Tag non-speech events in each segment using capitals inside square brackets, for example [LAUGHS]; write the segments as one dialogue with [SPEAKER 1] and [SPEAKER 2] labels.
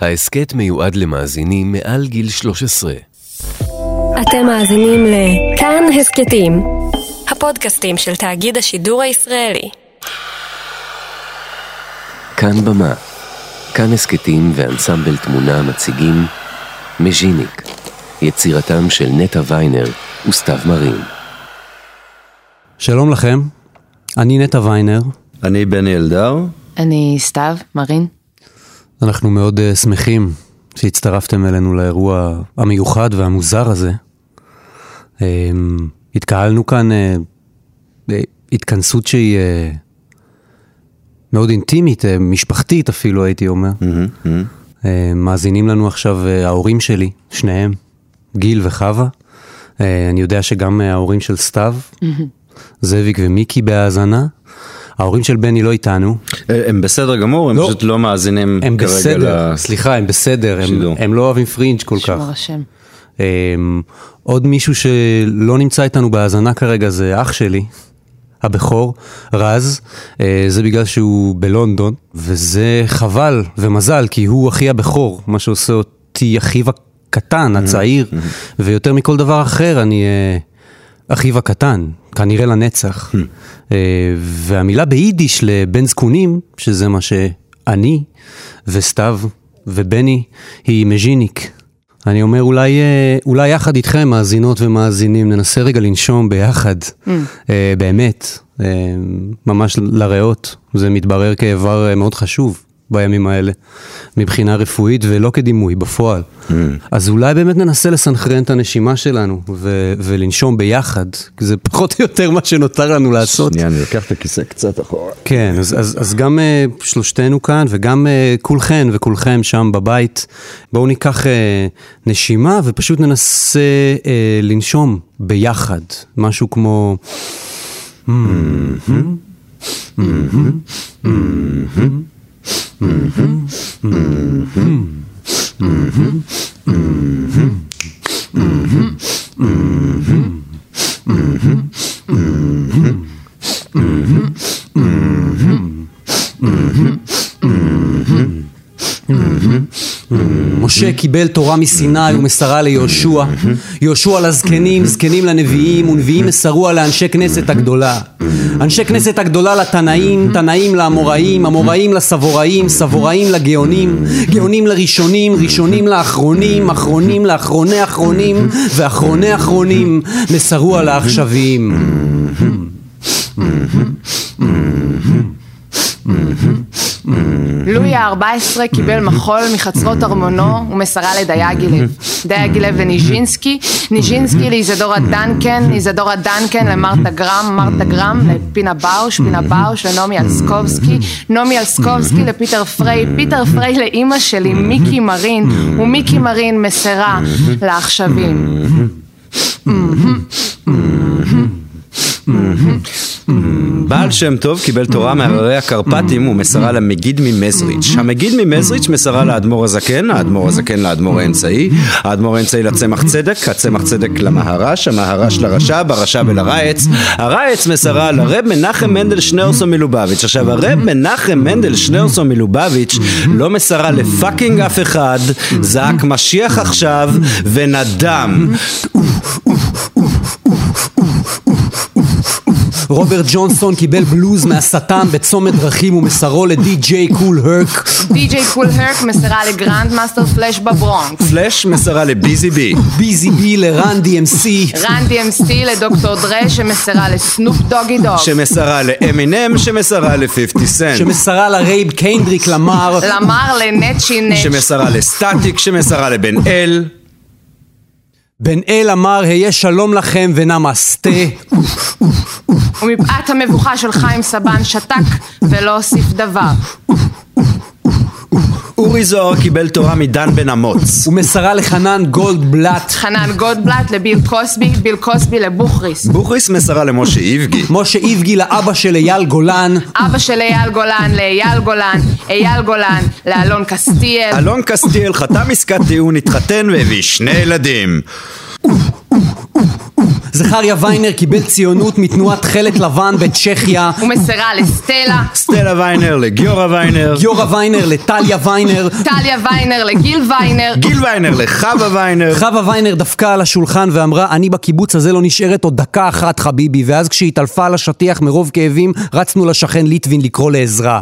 [SPEAKER 1] ההסכת מיועד למאזינים מעל גיל 13.
[SPEAKER 2] אתם מאזינים לכאן הסכתים, הפודקאסטים של תאגיד השידור הישראלי.
[SPEAKER 1] כאן במה. כאן הסכתים ואנסמבל תמונה מציגים מז'יניק, יצירתם של נטע ויינר וסתיו מרין.
[SPEAKER 3] שלום לכם, אני נטע ויינר,
[SPEAKER 4] אני בני אלדר,
[SPEAKER 5] אני סתיו, מרין.
[SPEAKER 3] אנחנו מאוד אה, שמחים שהצטרפתם אלינו לאירוע המיוחד והמוזר הזה. אה, התקהלנו כאן אה, בהתכנסות שהיא אה, מאוד אינטימית, אה, משפחתית אפילו הייתי אומר. אה, מאזינים לנו עכשיו אה, ההורים שלי, שניהם, גיל וחווה. אה, אני יודע שגם אה, ההורים של סתיו, זאביק ומיקי בהאזנה. ההורים של בני לא איתנו,
[SPEAKER 4] אה, הם בסדר גמור, הם
[SPEAKER 3] לא.
[SPEAKER 4] פשוט לא מאזינים
[SPEAKER 3] הם
[SPEAKER 4] כרגע
[SPEAKER 3] בסדר,
[SPEAKER 4] ל-
[SPEAKER 3] סליחה, הם בסדר, הם,
[SPEAKER 4] שידור.
[SPEAKER 3] הם לא אוהבים פרינג' כל כך. Mm-hmm.
[SPEAKER 5] שמור השם.
[SPEAKER 3] הם, אמ, עוד מישהו שלא נמצא איתנו בהאזנה כרגע זה אח שלי, הבכור, רז, אה, זה בגלל שהוא בלונדון, וזה חבל ומזל, כי הוא אחי הבכור, מה שעושה אותי אחיו הקטן, הצעיר, ויותר מכל דבר אחר אני אה, אחיו הקטן, כנראה לנצח. אה, והמילה ביידיש לבן זקונים, שזה מה שאני וסתיו ובני, היא מז'יניק. אני אומר, אולי, אה, אולי יחד איתכם, מאזינות ומאזינים, ננסה רגע לנשום ביחד, אה, באמת, אה, ממש לריאות. זה מתברר כאיבר אה, מאוד חשוב בימים האלה, מבחינה רפואית ולא כדימוי, בפועל. אז אולי באמת ננסה לסנכרן את הנשימה שלנו ו- ולנשום ביחד, כי זה פחות או יותר מה שנותר לנו לעשות.
[SPEAKER 4] שנייה, אני לוקח את הכיסא קצת אחורה.
[SPEAKER 3] כן, אז, אז, אז גם אה, שלושתנו כאן וגם אה, כולכן וכולכם שם בבית, בואו ניקח אה, נשימה ופשוט ננסה אה, לנשום ביחד, משהו כמו... משה קיבל תורה מסיני ומסרה ליהושע. יהושע לזקנים, זקנים לנביאים, ונביאים מסרוה לאנשי כנסת הגדולה. אנשי כנסת הגדולה לתנאים, תנאים לאמוראים, אמוראים לסבוראים, סבוראים לגאונים, גאונים לראשונים, ראשונים לאחרונים, אחרונים לאחרוני אחרונים, ואחרוני אחרונים מסרוה לעכשוויים.
[SPEAKER 5] לואי ה-14 קיבל מחול מחצרות ארמונו ומסרה לדייגילב. דייגילב וניז'ינסקי,
[SPEAKER 3] Mm-hmm.
[SPEAKER 5] ניז'ינסקי לאיזדורה דנקן, איזדורה דנקן למרתה גרם, מרתה גרם לפינה באוש,
[SPEAKER 3] Mm-hmm.
[SPEAKER 5] פינה באוש לנעמי אלסקובסקי, נעמי אלסקובסקי לפיטר פריי, פיטר
[SPEAKER 3] Mm-hmm.
[SPEAKER 5] פריי לאימא שלי מיקי מרין, ומיקי מרין מסרה
[SPEAKER 3] Mm-hmm.
[SPEAKER 5] לעכשווים.
[SPEAKER 4] בעל שם טוב קיבל תורה מהררי הקרפטים ומסרה למגיד ממזריץ'. המגיד ממזריץ' מסרה לאדמו"ר הזקן, האדמו"ר הזקן לאדמו"ר האמצעי, האדמו"ר האמצעי לצמח צדק, הצמח צדק למהר"ש, המהר"ש לרש"ב, הרש"ב אל הרייץ, הרייץ מסרה לרב מנחם מנדל שניאורסון מלובביץ'. עכשיו הרב מנחם מנדל שניאורסון מלובביץ' לא מסרה לפאקינג אף אחד, זעק משיח עכשיו ונדם.
[SPEAKER 3] רוברט ג'ונסון קיבל בלוז מהשטן בצומת דרכים ומסרו לדי-ג'יי קול הרק.
[SPEAKER 5] די.ג'יי קול הרק מסרה לגרנד מאסטר פלאש בברונקס.
[SPEAKER 4] פלאש מסרה לביזי בי.
[SPEAKER 3] ביזי בי לרן DMC.
[SPEAKER 5] רן DMC לדוקטור דרה שמסרה לסנופ דוגי דוג.
[SPEAKER 4] שמסרה לאמינם, שמסרה ל-50 סנט,
[SPEAKER 3] שמסרה לרייב קיינדריק
[SPEAKER 5] [LAUGHS]
[SPEAKER 3] למר,
[SPEAKER 5] למר לנצ'י נצ'
[SPEAKER 4] שמסרה לסטטיק, שמסרה לבן אל,
[SPEAKER 3] בן אל אמר היה שלום לכם ונמאסטה,
[SPEAKER 5] ומפאת המבוכה של חיים סבן שתק ולא הוסיף דבר.
[SPEAKER 4] אורי זוהר קיבל תורה מדן בן אמוץ,
[SPEAKER 3] ומסרה לחנן גולדבלט,
[SPEAKER 5] חנן גולדבלט לביל קוסבי, ביל קוסבי לבוכריס.
[SPEAKER 4] בוכריס מסרה למשה איבגי,
[SPEAKER 3] משה איבגי לאבא של אייל גולן,
[SPEAKER 5] אבא של אייל גולן לאייל גולן, אייל גולן לאלון קסטיאל.
[SPEAKER 4] אלון קסטיאל חתם עסקת טיעון, התחתן והביא שני ילדים,
[SPEAKER 3] זכריה ויינר קיבל ציונות מתנועת חלק לבן בצ'כיה.
[SPEAKER 5] ומסרה לסטלה,
[SPEAKER 4] סטלה ויינר לגיורא ויינר,
[SPEAKER 3] גיורא ויינר לטליה ויינר.
[SPEAKER 5] טליה ויינר לגיל ויינר,
[SPEAKER 4] גיל ויינר לחווה ויינר,
[SPEAKER 3] חווה ויינר דפקה על השולחן ואמרה, אני בקיבוץ הזה לא נשארת עוד דקה אחת, חביבי. ואז כשהיא התעלפה על השטיח מרוב כאבים, רצנו לשכן ליטבין לקרוא לעזרה.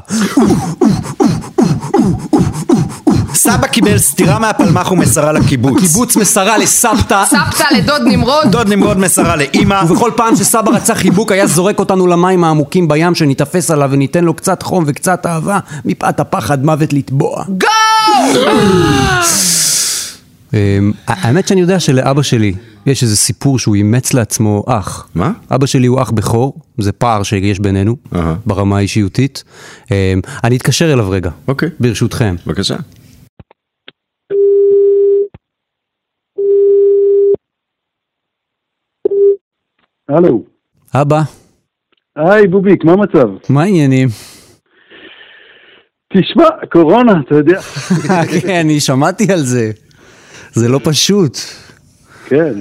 [SPEAKER 4] סבא קיבל סטירה מהפלמח ומסרה לקיבוץ,
[SPEAKER 3] קיבוץ מסרה לסבתא.
[SPEAKER 5] סבתא לדוד נמרוד,
[SPEAKER 4] דוד נמרוד מסרה לאימא,
[SPEAKER 3] ובכל פעם שסבא רצה חיבוק היה זורק אותנו למים העמוקים בים שניתפס עליו וניתן לו קצת חום וקצת אהבה מפאת הפחד מוות לטבוע.
[SPEAKER 5] גו!
[SPEAKER 3] אמ, האמת שאני יודע שלאבא שלי יש איזה סיפור שהוא אימץ לעצמו אח.
[SPEAKER 4] מה?
[SPEAKER 3] אבא שלי הוא אח בכור, זה פער שיש בינינו
[SPEAKER 4] אהה.
[SPEAKER 3] ברמה האישיותית. אמ, אני אתקשר אליו רגע,
[SPEAKER 4] אוקיי.
[SPEAKER 3] ברשותכם.
[SPEAKER 4] בבקשה.
[SPEAKER 6] הלו.
[SPEAKER 3] אבא,
[SPEAKER 6] היי בוביק, מה המצב?
[SPEAKER 4] [LAUGHS]
[SPEAKER 3] מה העניינים?
[SPEAKER 6] תשמע, קורונה, אתה יודע.
[SPEAKER 3] כן, אני שמעתי על זה. זה לא פשוט.
[SPEAKER 6] כן.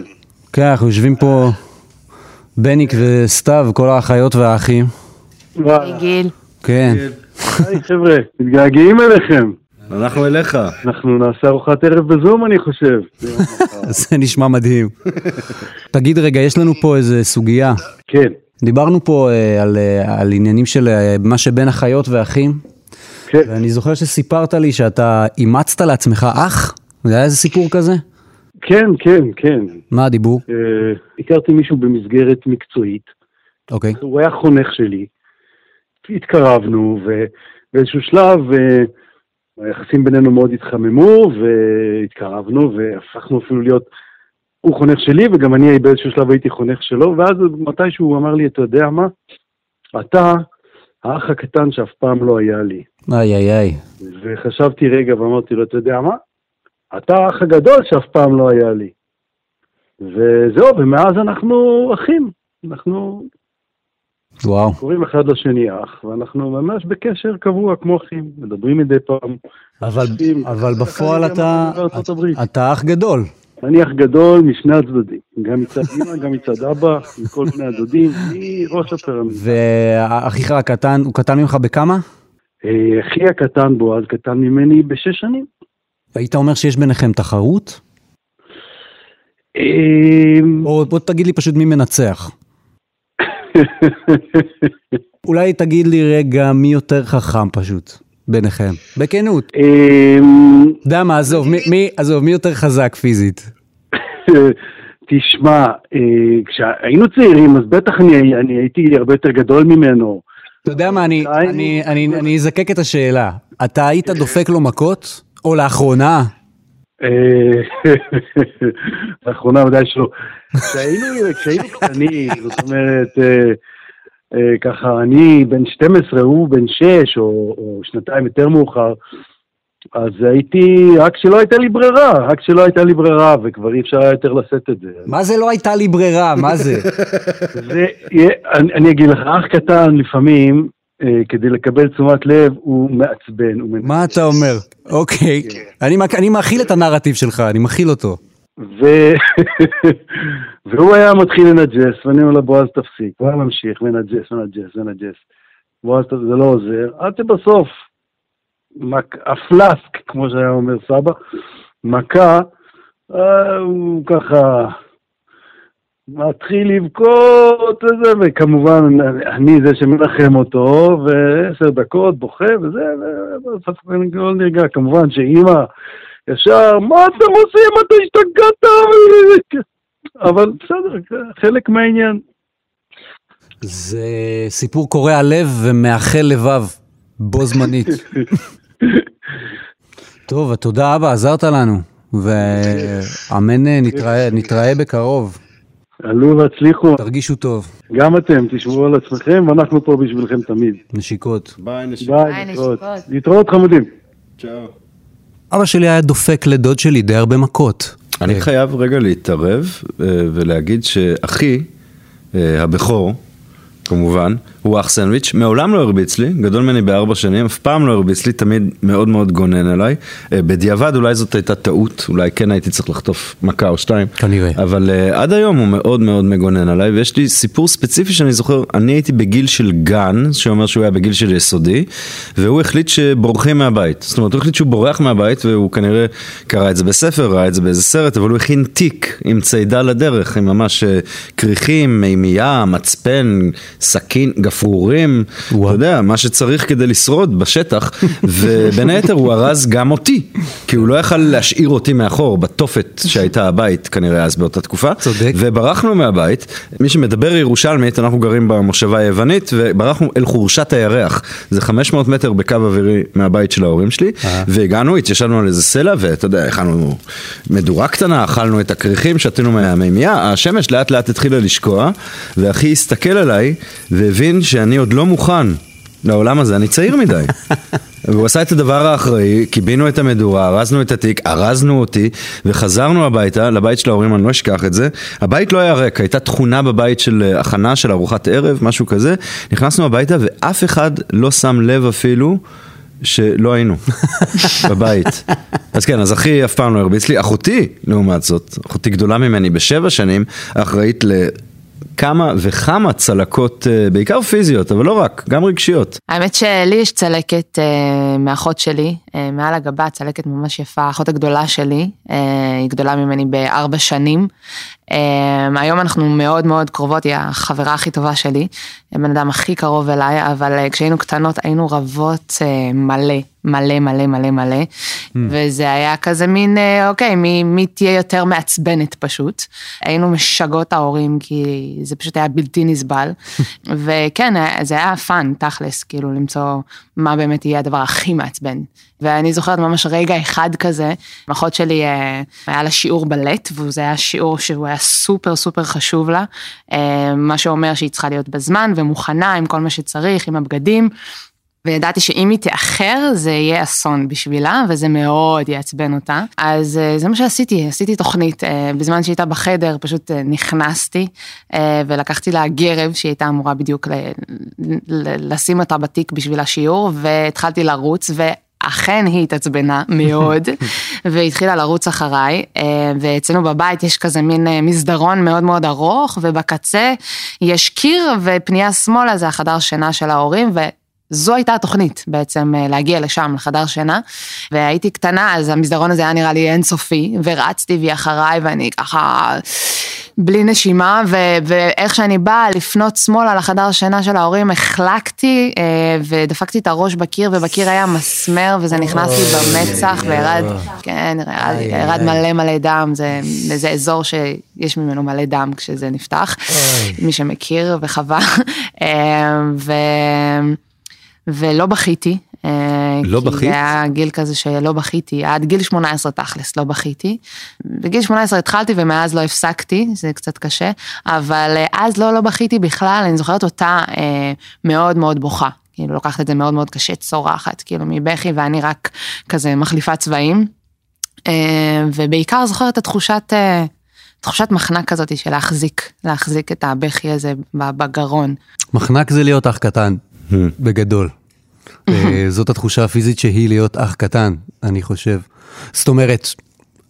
[SPEAKER 3] כן, אנחנו יושבים פה בניק וסתיו, כל האחיות והאחים.
[SPEAKER 6] וואלה.
[SPEAKER 5] גיל.
[SPEAKER 3] כן.
[SPEAKER 6] היי חבר'ה, מתגעגעים אליכם.
[SPEAKER 4] אנחנו אליך.
[SPEAKER 6] אנחנו נעשה ארוחת ערב בזום אני חושב.
[SPEAKER 3] זה נשמע מדהים. תגיד רגע, יש לנו פה איזה סוגיה.
[SPEAKER 6] כן,
[SPEAKER 3] דיברנו פה אה, על, אה, על עניינים של אה, מה שבין אחיות ואחים,
[SPEAKER 6] כן.
[SPEAKER 3] ואני זוכר שסיפרת לי שאתה אימצת לעצמך אח? זה היה איזה סיפור כזה?
[SPEAKER 6] כן, כן, כן.
[SPEAKER 3] מה הדיבור?
[SPEAKER 6] אה, הכרתי מישהו במסגרת מקצועית,
[SPEAKER 3] אוקיי.
[SPEAKER 6] הוא היה חונך שלי. התקרבנו, ובאיזשהו שלב אה, היחסים בינינו מאוד התחממו, והתקרבנו, והפכנו אפילו להיות, הוא חונך שלי, וגם אני באיזשהו שלב הייתי חונך שלו, ואז מתישהו הוא אמר לי, אתה יודע מה, אתה האח הקטן שאף פעם לא היה לי.
[SPEAKER 3] איי איי איי.
[SPEAKER 6] וחשבתי רגע ואמרתי לו, אתה יודע מה? אתה האח הגדול שאף פעם לא היה לי. וזהו, ומאז אנחנו אחים. אנחנו
[SPEAKER 3] וואו.
[SPEAKER 6] קוראים אחד לשני אח, ואנחנו ממש בקשר קבוע כמו אחים, מדברים מדי פעם.
[SPEAKER 3] אבל,
[SPEAKER 6] משתפים.
[SPEAKER 3] אבל בפועל
[SPEAKER 6] ככה
[SPEAKER 3] אתה,
[SPEAKER 6] אני גם בארצות הברית.
[SPEAKER 3] אתה אח גדול.
[SPEAKER 6] אני אח גדול משני הצדדים, גם מצד אמא, גם מצד אבא, מכל מיני הצדדים, אני ראש הפירמיד.
[SPEAKER 3] ואחיך הקטן, הוא קטן ממך בכמה?
[SPEAKER 6] אה, אחי הקטן בועז קטן ממני בשש שנים.
[SPEAKER 3] היית אומר שיש ביניכם תחרות?
[SPEAKER 6] [LAUGHS] אה,
[SPEAKER 3] או בוא תגיד לי פשוט מי מנצח. אולי תגיד לי רגע מי יותר חכם פשוט ביניכם. בכנות.
[SPEAKER 6] אה,
[SPEAKER 3] יודע מה, עזוב, מי, מי, עזוב, מי יותר חזק פיזית?
[SPEAKER 6] תשמע, אה, כשהיינו צעירים, אז בטח אני, אני הייתי הרבה יותר גדול ממנו.
[SPEAKER 3] אתה יודע מה, אני,
[SPEAKER 6] עדיין-
[SPEAKER 3] אני, אני, אני אזקק את השאלה. אתה היית דופק לו מכות? או לאחרונה?
[SPEAKER 6] אה, [LAUGHS] לאחרונה ודאי שלא. כשהיינו כשהיינו קטנים, [LAUGHS] זאת אומרת, אה, אה, ככה, אני בן 12, הוא בן 6, או או שנתיים יותר מאוחר, אז הייתי, רק שלא הייתה לי ברירה, רק שלא הייתה לי ברירה, וכבר אי אפשר היה יותר לשאת את זה.
[SPEAKER 3] מה זה לא הייתה לי ברירה? מה זה?
[SPEAKER 6] זה, יהיה- אני, אני אגיד לך, אח קטן לפעמים, אה, כדי לקבל תשומת לב, הוא מעצבן. הוא מנ-
[SPEAKER 3] מה אתה אומר? אוקיי. אני, מק- אני מכיל את הנרטיב שלך, אני מכיל אותו.
[SPEAKER 6] ו... [LAUGHS] והוא היה מתחיל לנג'ס, ואני אומר לו, בועז תפסיק. הוא היה ממשיך, מנג'ס, מנג'ס, מנג'ס. בועז, ת- זה לא עוזר. עד שבסוף, מק... הפלסק, כמו שהיה אומר סבא, מכה, אה, הוא ככה... מתחיל לבכות וזה, וכמובן אני זה שמנחם אותו, ועשר דקות בוכה וזה, ובסוף אני לא נרגע. כמובן שאימא ישר, מה אתם עושים? אתה השתגעת? אבל בסדר, חלק מהעניין.
[SPEAKER 3] זה סיפור קורע לב ומאחל לבב, בו זמנית. טוב, תודה אבא, עזרת לנו. ואמן אה, נתראה, נתראה בקרוב.
[SPEAKER 6] עלו והצליחו,
[SPEAKER 3] תרגישו טוב.
[SPEAKER 6] גם אתם, תשמרו על עצמכם, ואנחנו פה בשבילכם תמיד.
[SPEAKER 3] נשיקות.
[SPEAKER 4] ביי נשמה.
[SPEAKER 6] ביי, להתראות. להתראות חמודים.
[SPEAKER 4] צ'או.
[SPEAKER 3] אבא שלי היה דופק לדוד שלי די הרבה מכות.
[SPEAKER 4] אני חייב רגע להתערב אה, ולהגיד שאחי, אה, הבכור, כמובן, הוא אח סנדוויץ', מעולם לא הרביץ לי, גדול ממני בארבע שנים, אף פעם לא הרביץ לי, תמיד מאוד מאוד גונן עליי. אה, בדיעבד אולי זאת הייתה טעות, אולי כן הייתי צריך לחטוף מכה או שתיים.
[SPEAKER 3] כנראה.
[SPEAKER 4] אבל uh, עד היום הוא מאוד מאוד מגונן עליי, ויש לי סיפור ספציפי שאני זוכר, אני הייתי בגיל של גן, שאומר שהוא היה בגיל של יסודי, והוא החליט שבורחים מהבית. זאת אומרת, הוא החליט שהוא בורח מהבית, והוא כנראה קרא את זה בספר, ראה את זה באיזה סרט, אבל הוא הכין תיק עם צידה לדרך, עם ממש אה, כריכים, מימייה, מצפן, סכין, גפרורים,
[SPEAKER 3] וואו.
[SPEAKER 4] אתה יודע, מה שצריך כדי לשרוד בשטח, ובין היתר הוא ארז גם אותי, כי הוא לא יכל להשאיר אותי מאחור בתופת שהייתה הבית כנראה אז באותה תקופה.
[SPEAKER 3] צודק.
[SPEAKER 4] וברחנו מהבית, מי שמדבר ירושלמית, אנחנו גרים במושבה היוונית, וברחנו אל חורשת הירח, זה 500 מטר בקו אווירי מהבית של ההורים שלי, והגענו, התיישבנו על איזה סלע, ואתה יודע, הכנו מדורה קטנה, אכלנו את הכריכים, שתינו מהמימייה, השמש לאט לאט התחילה לשקוע, ואחי הסתכל עליי, והבין שאני עוד לא מוכן. לעולם הזה, אני צעיר מדי. והוא עשה את הדבר האחראי, קיבינו את המדורה, ארזנו את התיק, ארזנו אותי, וחזרנו הביתה, לבית של ההורים, אני לא אשכח את זה. הבית לא היה ריק, הייתה תכונה בבית של אה, הכנה, של ארוחת ערב, משהו כזה. נכנסנו הביתה ואף אחד לא שם לב אפילו. שלא היינו בבית. אז כן, אז אחי אף פעם לא הרביץ לי. אחותי, לעומת זאת, אחותי גדולה ממני בשבע שנים, אחראית לכמה וכמה צלקות, אה, בעיקר פיזיות, אבל לא רק, גם רגשיות.
[SPEAKER 5] האמת שלי יש צלקת אה, מאחות שלי, אה, מעל הגבה, צלקת ממש יפה, האחות הגדולה שלי, אה, היא גדולה ממני בארבע שנים. אה, היום אנחנו מאוד מאוד קרובות, היא החברה הכי טובה שלי, הבן אדם הכי קרוב אליי, אבל אה, כשהיינו קטנות היינו רבות אה, מלא, מלא מלא מלא מלא, וזה היה כזה מין, אה, אוקיי, מי, מי תהיה יותר מעצבנת פשוט. היינו משגעות ההורים, כי זה פשוט היה בלתי נסבל. וכן, אה, זה היה פאן, תכלס, כאילו, למצוא מה באמת יהיה הדבר הכי מעצבן. ואני זוכרת ממש רגע אחד כזה, אחות שלי, אה, היה לה שיעור בלט, וזה היה שיעור שהוא היה סופר סופר חשוב לה, אה, מה שאומר שהיא צריכה להיות בזמן ומוכנה עם כל מה שצריך, עם הבגדים. וידעתי שאם היא תאחר זה יהיה אסון בשבילה וזה מאוד יעצבן אותה. אז אה, זה מה שעשיתי, עשיתי תוכנית, אה, בזמן שהיא הייתה בחדר פשוט אה, נכנסתי אה, ולקחתי לה גרב שהיא הייתה אמורה בדיוק ל- ל- לשים אותה בתיק בשביל השיעור והתחלתי לרוץ. ו... אכן היא התעצבנה מאוד, והתחילה לרוץ אחריי, אה, ואצלנו בבית יש כזה מין אה, מסדרון מאוד מאוד ארוך, ובקצה יש קיר, ופנייה שמאלה זה החדר שינה של ההורים, ו... זו הייתה התוכנית בעצם, אה, להגיע לשם, לחדר שינה. והייתי קטנה, אז המסדרון הזה היה נראה לי אינסופי, ורצתי והיא אחריי, ואני ככה בלי נשימה, ו- ואיך שאני באה לפנות שמאלה לחדר שינה של ההורים, החלקתי אה, ודפקתי את הראש בקיר, ובקיר היה מסמר, וזה נכנס לי במצח, וירד, כן, ירד, ירד מלא מלא דם, זה, זה אזור שיש ממנו מלא דם כשזה נפתח, מי שמכיר וחווה. [LAUGHS] אה, ו... ולא בכיתי. אה,
[SPEAKER 4] לא
[SPEAKER 5] כי
[SPEAKER 4] בכית?
[SPEAKER 5] זה היה גיל כזה שלא בכיתי, עד גיל 18 תכלס לא בכיתי. בגיל 18 התחלתי ומאז לא הפסקתי, זה קצת קשה, אבל אה, אז לא, לא בכיתי בכלל, אני זוכרת אותה אה, מאוד מאוד בוכה. כאילו לוקחת את זה מאוד מאוד קשה, צורחת, כאילו מבכי, ואני רק כזה מחליפה צבעים. אה, ובעיקר זוכרת את התחושת, אה, תחושת מחנק כזאת של להחזיק, להחזיק את הבכי הזה בגרון.
[SPEAKER 3] מחנק זה להיות אח קטן, בגדול. אה, זאת התחושה הפיזית שהיא להיות אח קטן, אני חושב. זאת אומרת,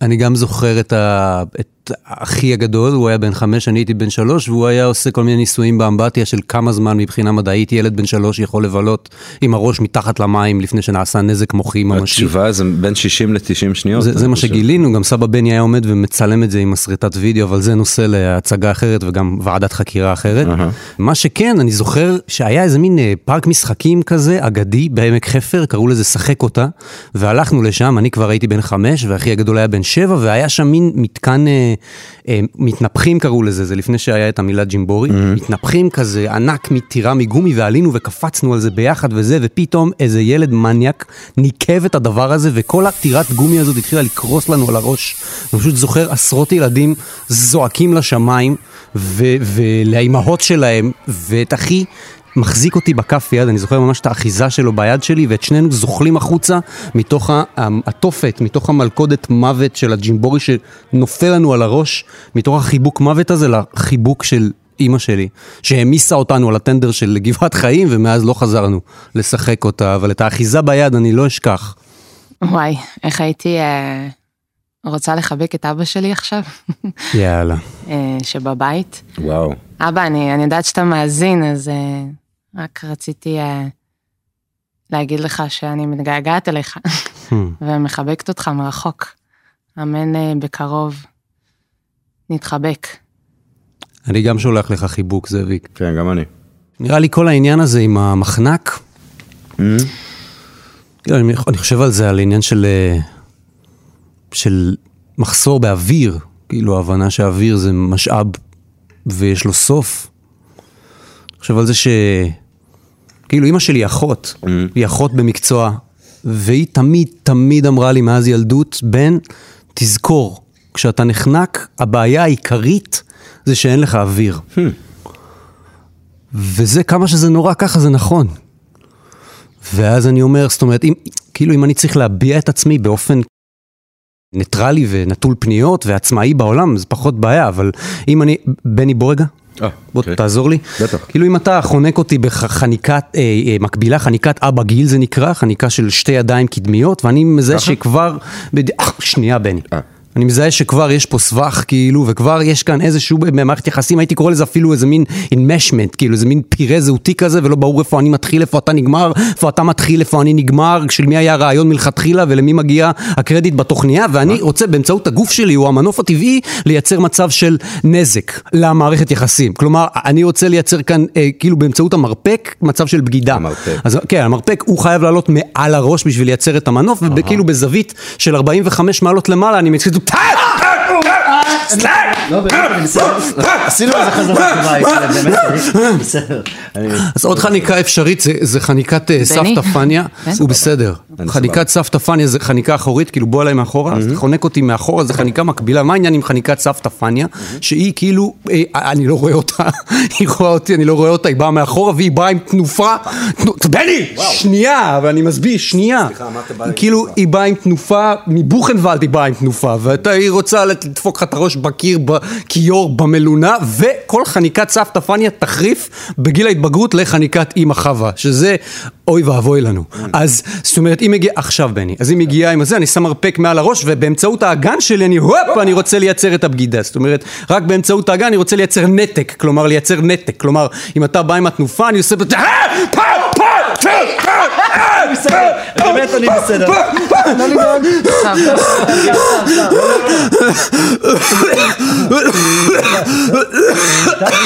[SPEAKER 3] אני גם זוכר את, ה... את אחי הגדול, הוא היה בן חמש, אני הייתי בן שלוש, והוא היה עושה כל מיני ניסויים באמבטיה של כמה זמן מבחינה מדעית ילד בן שלוש יכול לבלות עם הראש מתחת למים לפני שנעשה נזק מוחי ממשי.
[SPEAKER 4] התשובה זה בין 60 ל-90 שניות.
[SPEAKER 3] זה,
[SPEAKER 4] אני
[SPEAKER 3] זה מה
[SPEAKER 4] חושב.
[SPEAKER 3] שגילינו, גם סבא בני היה עומד ומצלם את זה עם מסרטת וידאו, אבל זה נושא להצגה אחרת וגם ועדת חקירה אחרת.
[SPEAKER 4] אהה.
[SPEAKER 3] מה שכן, אני זוכר שהיה איזה מין אה, פארק משחקים כזה, אגדי, בעמק חפר, קראו לזה שחק אותה, והלכנו לשם, אני כבר הייתי בן חמש, ואחי הגדול היה בן שבע, והיה שם מין מתקן, אה, אה, מתנפחים קראו לזה, זה לפני שהיה את המילה ג'ימבורי, מתנפחים כזה ענק מטירה מגומי, ועלינו וקפצנו על זה ביחד וזה, ופתאום איזה ילד מניאק ניקב את הדבר הזה, וכל הטירת גומי הזאת התחילה לקרוס לנו על הראש. אני פשוט זוכר עשרות ילדים זועקים לשמיים, ו- ולאימהות שלהם, ואת אחי מחזיק אותי בכף יד, אני זוכר ממש את האחיזה שלו ביד שלי, ואת שנינו זוחלים החוצה מתוך ה- התופת, מתוך המלכודת מוות של הג'ימבורי שנופל לנו על הראש, מתוך החיבוק מוות הזה לחיבוק של... אימא שלי, שהעמיסה אותנו על הטנדר של גבעת חיים, ומאז לא חזרנו לשחק אותה, אבל את האחיזה ביד אני לא אשכח.
[SPEAKER 5] וואי, איך הייתי אה, רוצה לחבק את אבא שלי עכשיו,
[SPEAKER 3] יאללה.
[SPEAKER 5] אה, שבבית.
[SPEAKER 4] וואו.
[SPEAKER 5] אבא, אני, אני יודעת שאתה מאזין, אז אה, רק רציתי אה, להגיד לך שאני מתגעגעת אליך [LAUGHS] ומחבקת אותך מרחוק. אמן אה, בקרוב נתחבק.
[SPEAKER 3] אני גם שולח לך חיבוק, זאביק.
[SPEAKER 4] כן, גם אני.
[SPEAKER 3] נראה לי כל העניין הזה עם המחנק, לא, אני, אני חושב על זה, על עניין של, אה, של מחסור באוויר, כאילו ההבנה שהאוויר זה משאב ויש לו סוף. אני חושב על זה ש... כאילו אימא שלי היא אחות, היא אחות במקצועה, והיא תמיד תמיד אמרה לי מאז ילדות, בן, תזכור, כשאתה נחנק, הבעיה העיקרית זה שאין לך אוויר. וזה כמה שזה נורא ככה זה נכון. ואז אני אומר, זאת אומרת, אם, כאילו אם אני צריך להביע את עצמי באופן ניטרלי ונטול פניות ועצמאי בעולם, זה פחות בעיה, אבל אם אני, בני בורגה?
[SPEAKER 4] אה,
[SPEAKER 3] בוא
[SPEAKER 4] אוקיי.
[SPEAKER 3] תעזור לי.
[SPEAKER 4] בטח.
[SPEAKER 3] כאילו אם אתה חונק אותי בחניקת, אה, אה, מקבילה, חניקת אבא גיל זה נקרא, חניקה של שתי ידיים קדמיות, ואני מזהה שכבר, בד... אה, שנייה בני.
[SPEAKER 4] אה.
[SPEAKER 3] אני מזהה שכבר יש פה סבך, כאילו, וכבר יש כאן איזשהו במערכת יחסים, הייתי קורא לזה אפילו איזה מין enmeshment, כאילו, איזה מין פירה זהותי כזה, ולא ברור איפה אני מתחיל, איפה אתה נגמר, איפה אתה מתחיל, איפה אני נגמר, של מי היה הרעיון מלכתחילה ולמי מגיע הקרדיט בתוכניה, ואני רוצה באמצעות הגוף שלי, או המנוף הטבעי, לייצר מצב של נזק למערכת יחסים. כלומר, אני רוצה לייצר כאן, אה, כאילו, באמצעות המרפק, מצב של בגידה.
[SPEAKER 4] המרפק.
[SPEAKER 3] אז כן, המרפק הוא חייב לעלות מעל הראש בשביל לייצר את המנוף, וכאילו בזווית של 45 מעלות למעלה, אני מצליח...
[SPEAKER 7] לא, באמת, אני בסדר. עשינו איזה חזרה טובה, כאילו, באמת, אני- בסדר. אני-
[SPEAKER 3] אז עוד חניקה אפשרית זה- זה חניקת אה, סבתא פניה, הוא בסדר. חניקת סבתא פניה זה חניקה אחורית, כאילו בוא אליי מאחורה, אז אתה חונק אותי מאחורה, זה חניקה מקבילה. מה העניין עם חניקת סבתא פניה? שהיא כאילו, אה, אני לא רואה אותה, [LAUGHS] היא רואה אותי, אני לא רואה אותה, היא באה מאחורה והיא באה עם תנופה. תנו- בני! שנייה, אבל אני מסביר, שנייה. היא כאילו, היא באה עם תנופה, מבוכנוולד היא באה עם תנופה, והיא רוצה לת- לדפוק לך את הראש בקיר, בכיור, במלונה, וכל חניקת סבתא פניה תחריף בגיל ההתבגרות לחניקת אימא חווה, שזה אוי ואבוי לנו. אז זאת אומרת, אם מגיעה, עכשיו בני, אז היא מגיעה עם הזה, אני שם מרפק מעל הראש, ובאמצעות האגן שלי אני, הופ, אני רוצה לייצר את הבגידה. זאת אומרת, רק באמצעות האגן אני רוצה לייצר נתק, כלומר לייצר נתק. כלומר, אם אתה בא עם התנופה, אני עושה... בת-
[SPEAKER 7] בסדר, באמת אני
[SPEAKER 3] [LAUGHS]
[SPEAKER 7] בסדר.
[SPEAKER 5] עכשיו,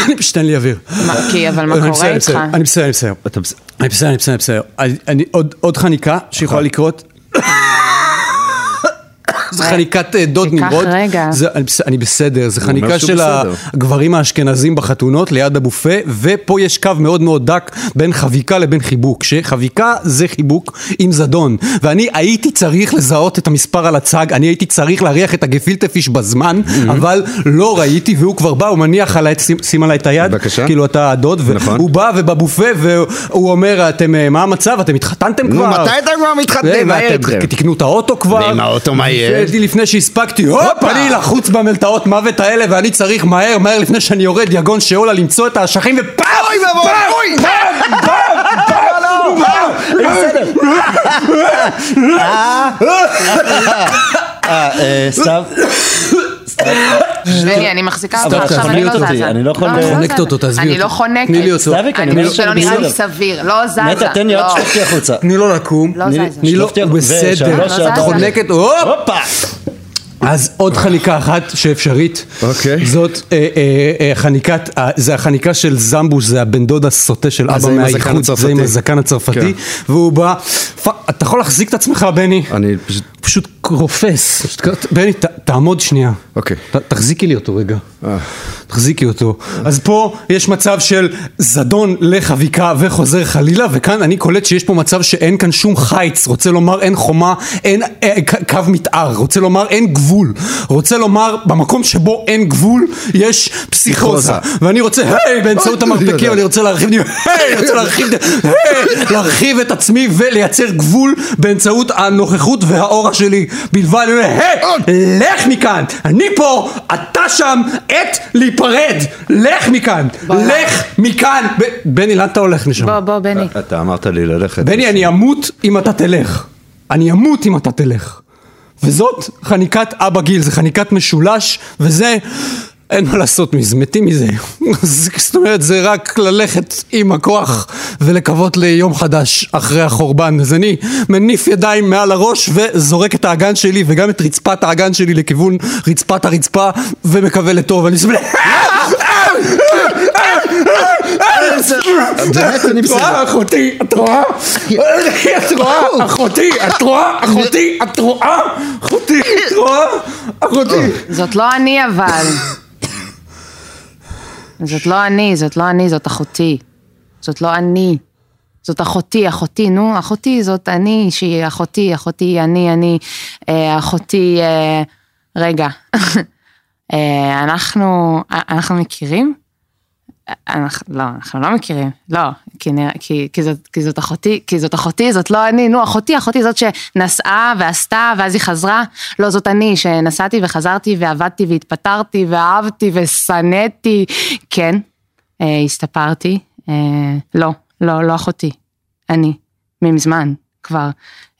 [SPEAKER 3] אני פשוט אין לי אוויר.
[SPEAKER 5] מה, כי, אבל מה
[SPEAKER 3] אני
[SPEAKER 5] קורה
[SPEAKER 3] מסיים,
[SPEAKER 5] איתך?
[SPEAKER 3] מסיים, אני מסיים, אני מסיים. אני בסדר, אני בסדר, אני בסדר. אני- אני- עוד- עוד חניקה
[SPEAKER 4] נכון.
[SPEAKER 3] שיכולה לקרות. זה חניקת אה, דוד
[SPEAKER 5] תיקח
[SPEAKER 3] נמרוד.
[SPEAKER 5] רגע.
[SPEAKER 3] זה- אני בס- אני בסדר, זה
[SPEAKER 4] אומר
[SPEAKER 3] חניקה
[SPEAKER 4] שהוא
[SPEAKER 3] של
[SPEAKER 4] בסדר.
[SPEAKER 3] הגברים האשכנזים בחתונות ליד הבופה, ופה יש קו מאוד מאוד דק בין חביקה לבין חיבוק, שחביקה זה חיבוק עם זדון. ואני הייתי צריך לזהות את המספר על הצג, אני הייתי צריך להריח את הגפילטפיש בזמן,
[SPEAKER 4] Mhm.
[SPEAKER 3] אבל לא ראיתי, והוא כבר בא, הוא מניח עליי, את- שים- שים עליי את היד.
[SPEAKER 4] בבקשה.
[SPEAKER 3] כאילו אתה הדוד,
[SPEAKER 4] נכון.
[SPEAKER 3] והוא בא ובבופה והוא אומר, אתם, אה, מה המצב? אתם התחתנתם כבר?
[SPEAKER 4] כבר
[SPEAKER 3] אה,
[SPEAKER 4] מתחתנים?
[SPEAKER 3] ואתם תקנו את האוטו כבר.
[SPEAKER 4] ועם האוטו, מה יהיה?
[SPEAKER 3] לפני- לפני שהספקתי, הופ, אני לחוץ במלתעות מוות האלה, ואני צריך מהר, מהר לפני שאני יורד יגון שאולה למצוא את האשכים ופאם! אוי ואבוי! אוי! פאם! פאם!
[SPEAKER 7] אה, אה, סתיו,
[SPEAKER 5] שלי, אני מחזיקה אותך,
[SPEAKER 7] סתיו,
[SPEAKER 5] עכשיו אני
[SPEAKER 7] תעזבי
[SPEAKER 5] לא
[SPEAKER 7] אותי,
[SPEAKER 5] זזה.
[SPEAKER 7] אני לא יכול-
[SPEAKER 5] אני
[SPEAKER 3] חונקת
[SPEAKER 5] זזה.
[SPEAKER 3] אותו, תעזבי
[SPEAKER 5] אני
[SPEAKER 3] אותו.
[SPEAKER 5] לא חונקת.
[SPEAKER 3] תני לי אותו.
[SPEAKER 7] סתיו, אני
[SPEAKER 5] אני
[SPEAKER 7] אומר
[SPEAKER 5] חושבת שלא נראה לי
[SPEAKER 7] בסדר.
[SPEAKER 5] סביר, לא זזה.
[SPEAKER 7] נטע, תן לי עוד
[SPEAKER 5] לא.
[SPEAKER 7] שלושתי החוצה.
[SPEAKER 3] תני לו לקום.
[SPEAKER 5] לא
[SPEAKER 3] תני-
[SPEAKER 5] זזה.
[SPEAKER 3] תני לו,
[SPEAKER 7] שלחתי-
[SPEAKER 3] הוא בסדר.
[SPEAKER 4] אה,
[SPEAKER 7] ושלוש
[SPEAKER 5] לא
[SPEAKER 3] את
[SPEAKER 5] זזה.
[SPEAKER 3] חונקת, הופ!
[SPEAKER 7] הופה!
[SPEAKER 3] אז עוד חניקה אחת שאפשרית,
[SPEAKER 4] אוקיי.
[SPEAKER 3] זאת אה, אה, אה, חניקת, אה, זה החניקה של זמבוש, זה הבן דוד הסוטה של
[SPEAKER 4] אה, זה
[SPEAKER 3] אבא
[SPEAKER 4] עם
[SPEAKER 3] מהאיחוד,
[SPEAKER 4] הזקן
[SPEAKER 3] זה עם
[SPEAKER 4] הצרפתי.
[SPEAKER 3] הזקן הצרפתי,
[SPEAKER 4] כן.
[SPEAKER 3] והוא בא, "פאק, אתה יכול להחזיק את עצמך בני,
[SPEAKER 4] אני פשוט...
[SPEAKER 3] פשוט רופס, פשוט כ- בני ת- תעמוד שנייה,
[SPEAKER 4] אוקיי.
[SPEAKER 3] ת- תחזיקי לי אותו רגע, תחזיקי אותו, אז פה יש מצב של זדון לחביקה וחוזר חלילה, וכאן אני קולט שיש פה מצב שאין כאן שום חיץ, רוצה לומר אין חומה, אין אה, ק- קו מתאר, רוצה לומר אין גבול, רוצה לומר במקום שבו אין גבול יש פסיכוזה,
[SPEAKER 4] פסיכוזה.
[SPEAKER 3] ואני רוצה, היי, באמצעות
[SPEAKER 4] אוי,
[SPEAKER 3] המרפקים,
[SPEAKER 4] יאללה.
[SPEAKER 3] אני רוצה להרחיב, אני היי, אני רוצה להרחיב, היי, להרחיב את עצמי ולייצר גבול באמצעות הנוכחות והאור שלי בלבד, אני אומר, היי, לך מכאן, אני פה, אתה שם, עת להיפרד, לך מכאן, לך מכאן. ב-
[SPEAKER 8] בני, לאן אתה הולך משם?
[SPEAKER 5] בוא, בוא, בני.
[SPEAKER 9] אתה אמרת לי ללכת.
[SPEAKER 3] בני, אני אמות אם אתה תלך. אני אמות אם אתה תלך. וזאת חניקת אבא גיל, זה חניקת משולש, וזה... אין מה לעשות מזה, מתים מזה. אז זאת אומרת, זה רק ללכת עם הכוח ולקוות ליום חדש אחרי החורבן. אז אני מניף ידיים מעל הראש וזורק את האגן שלי וגם את רצפת האגן שלי לכיוון רצפת הרצפה ומקווה לטוב. אני סבלה...
[SPEAKER 9] באמת, אני
[SPEAKER 3] את רואה, אחותי, את רואה? לא את רואה, אחותי, את רואה? אחותי, את רואה? אחותי, את רואה? אחותי.
[SPEAKER 5] זאת לא אני אבל. זאת לא אני, זאת לא אני, זאת אחותי. זאת לא אני. זאת אחותי, אחותי, נו, אחותי זאת אני, שהיא אחותי, אחותי, אני, אני, אה, אחותי, אה, רגע. [LAUGHS] אה, אנחנו, אנחנו מכירים? אנחנו, לא, אנחנו לא מכירים, לא, כי, נראה, כי, כי, זאת, כי זאת אחותי, כי זאת אחותי, זאת לא אני, נו, אחותי, אחותי זאת שנסעה ועשתה ואז היא חזרה, לא, זאת אני, שנסעתי וחזרתי ועבדתי והתפטרתי ואהבתי ושנאתי, כן, אה, הסתפרתי, אה, לא, לא, לא אחותי, אני, ממזמן, כבר,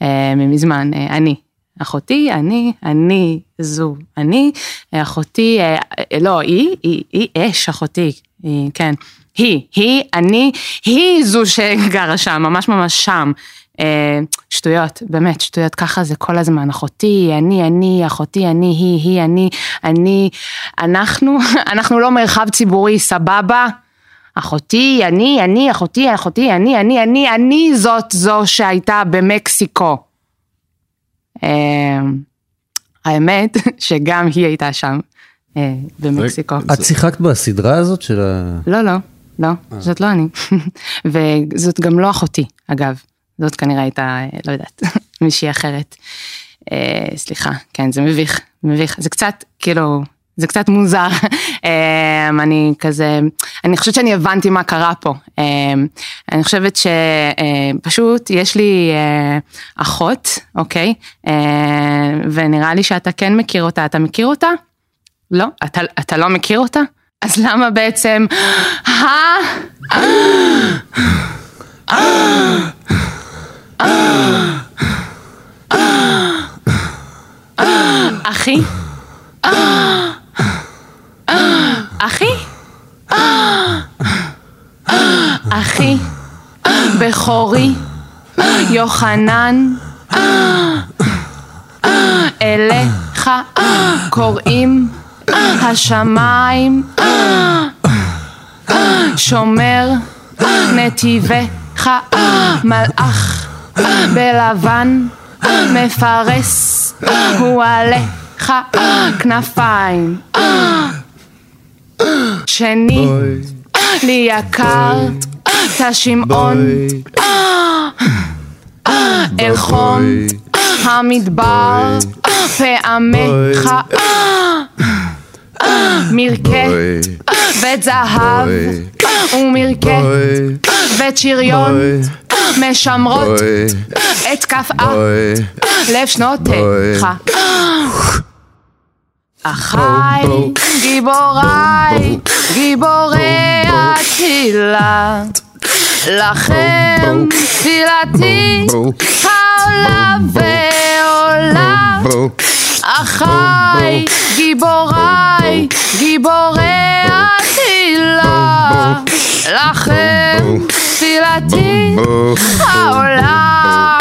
[SPEAKER 5] אה, ממזמן, אה, אני. אחותי, אני, אני, זו, אני, אה, אחותי, אה, אה, לא, היא, היא, היא אש, אחותי, היא, כן, היא, היא, אני, היא זו שגרה שם, ממש ממש שם. אה, שטויות, באמת, שטויות, ככה זה כל הזמן, אחותי, אני, אני, אחותי, אני, היא, היא, אני, אני, אנחנו, [LAUGHS] אנחנו לא מרחב ציבורי, סבבה? אחותי, אני, אני, אחותי, אחותי, אני, אני, אני, אני זאת זו שהייתה במקסיקו. אה, האמת [LAUGHS] שגם היא הייתה שם, אה, במקסיקו.
[SPEAKER 8] את שיחקת בסדרה הזאת של ה...
[SPEAKER 5] לא, לא, לא, זאת לא אני. [LAUGHS] וזאת גם לא אחותי, אגב. זאת כנראה הייתה, אה, לא יודעת, [LAUGHS] מישהי אחרת. אה, סליחה, כן, זה מביך, מביך. זה קצת, כאילו, זה קצת מוזר. [LAUGHS] אה, אני כזה, אני חושבת שאני הבנתי מה קרה פה. אה, אני חושבת שפשוט יש לי אה, אחות, אוקיי? אה, ונראה לי שאתה כן מכיר אותה. אתה מכיר אותה? לא? אתה, אתה לא מכיר אותה? אז למה בעצם... אה? ה... אחי? אחי? אחי? בכורי? יוחנן? אליך קוראים השמיים שומר נתיבך מלאך בלבן מפרס הוא עליך כנפיים שני לי יקר אתה שמעון אלחון המדבר פעמיך מרקט בית זהב ומרקט בית שריון משמרות את כפאה לב אה, שנותיך. אחיי, גיבוריי, גיבורי התהילה, לכם תפילתי העולה ועולה. אחיי, גיבוריי, גיבורי התהילה, לכם תפילתי העולה.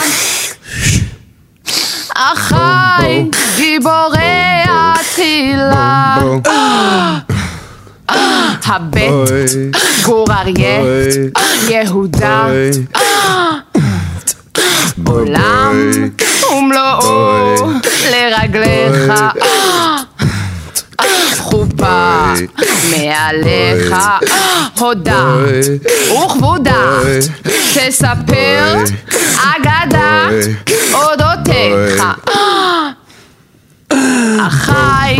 [SPEAKER 5] אחיי, גיבורי התהילה. הבט, גור אריה, יהודה, עולם ומלואו לרגליך. חופה מעליך הודה וכבודה תספר אגדה אודותיך אחיי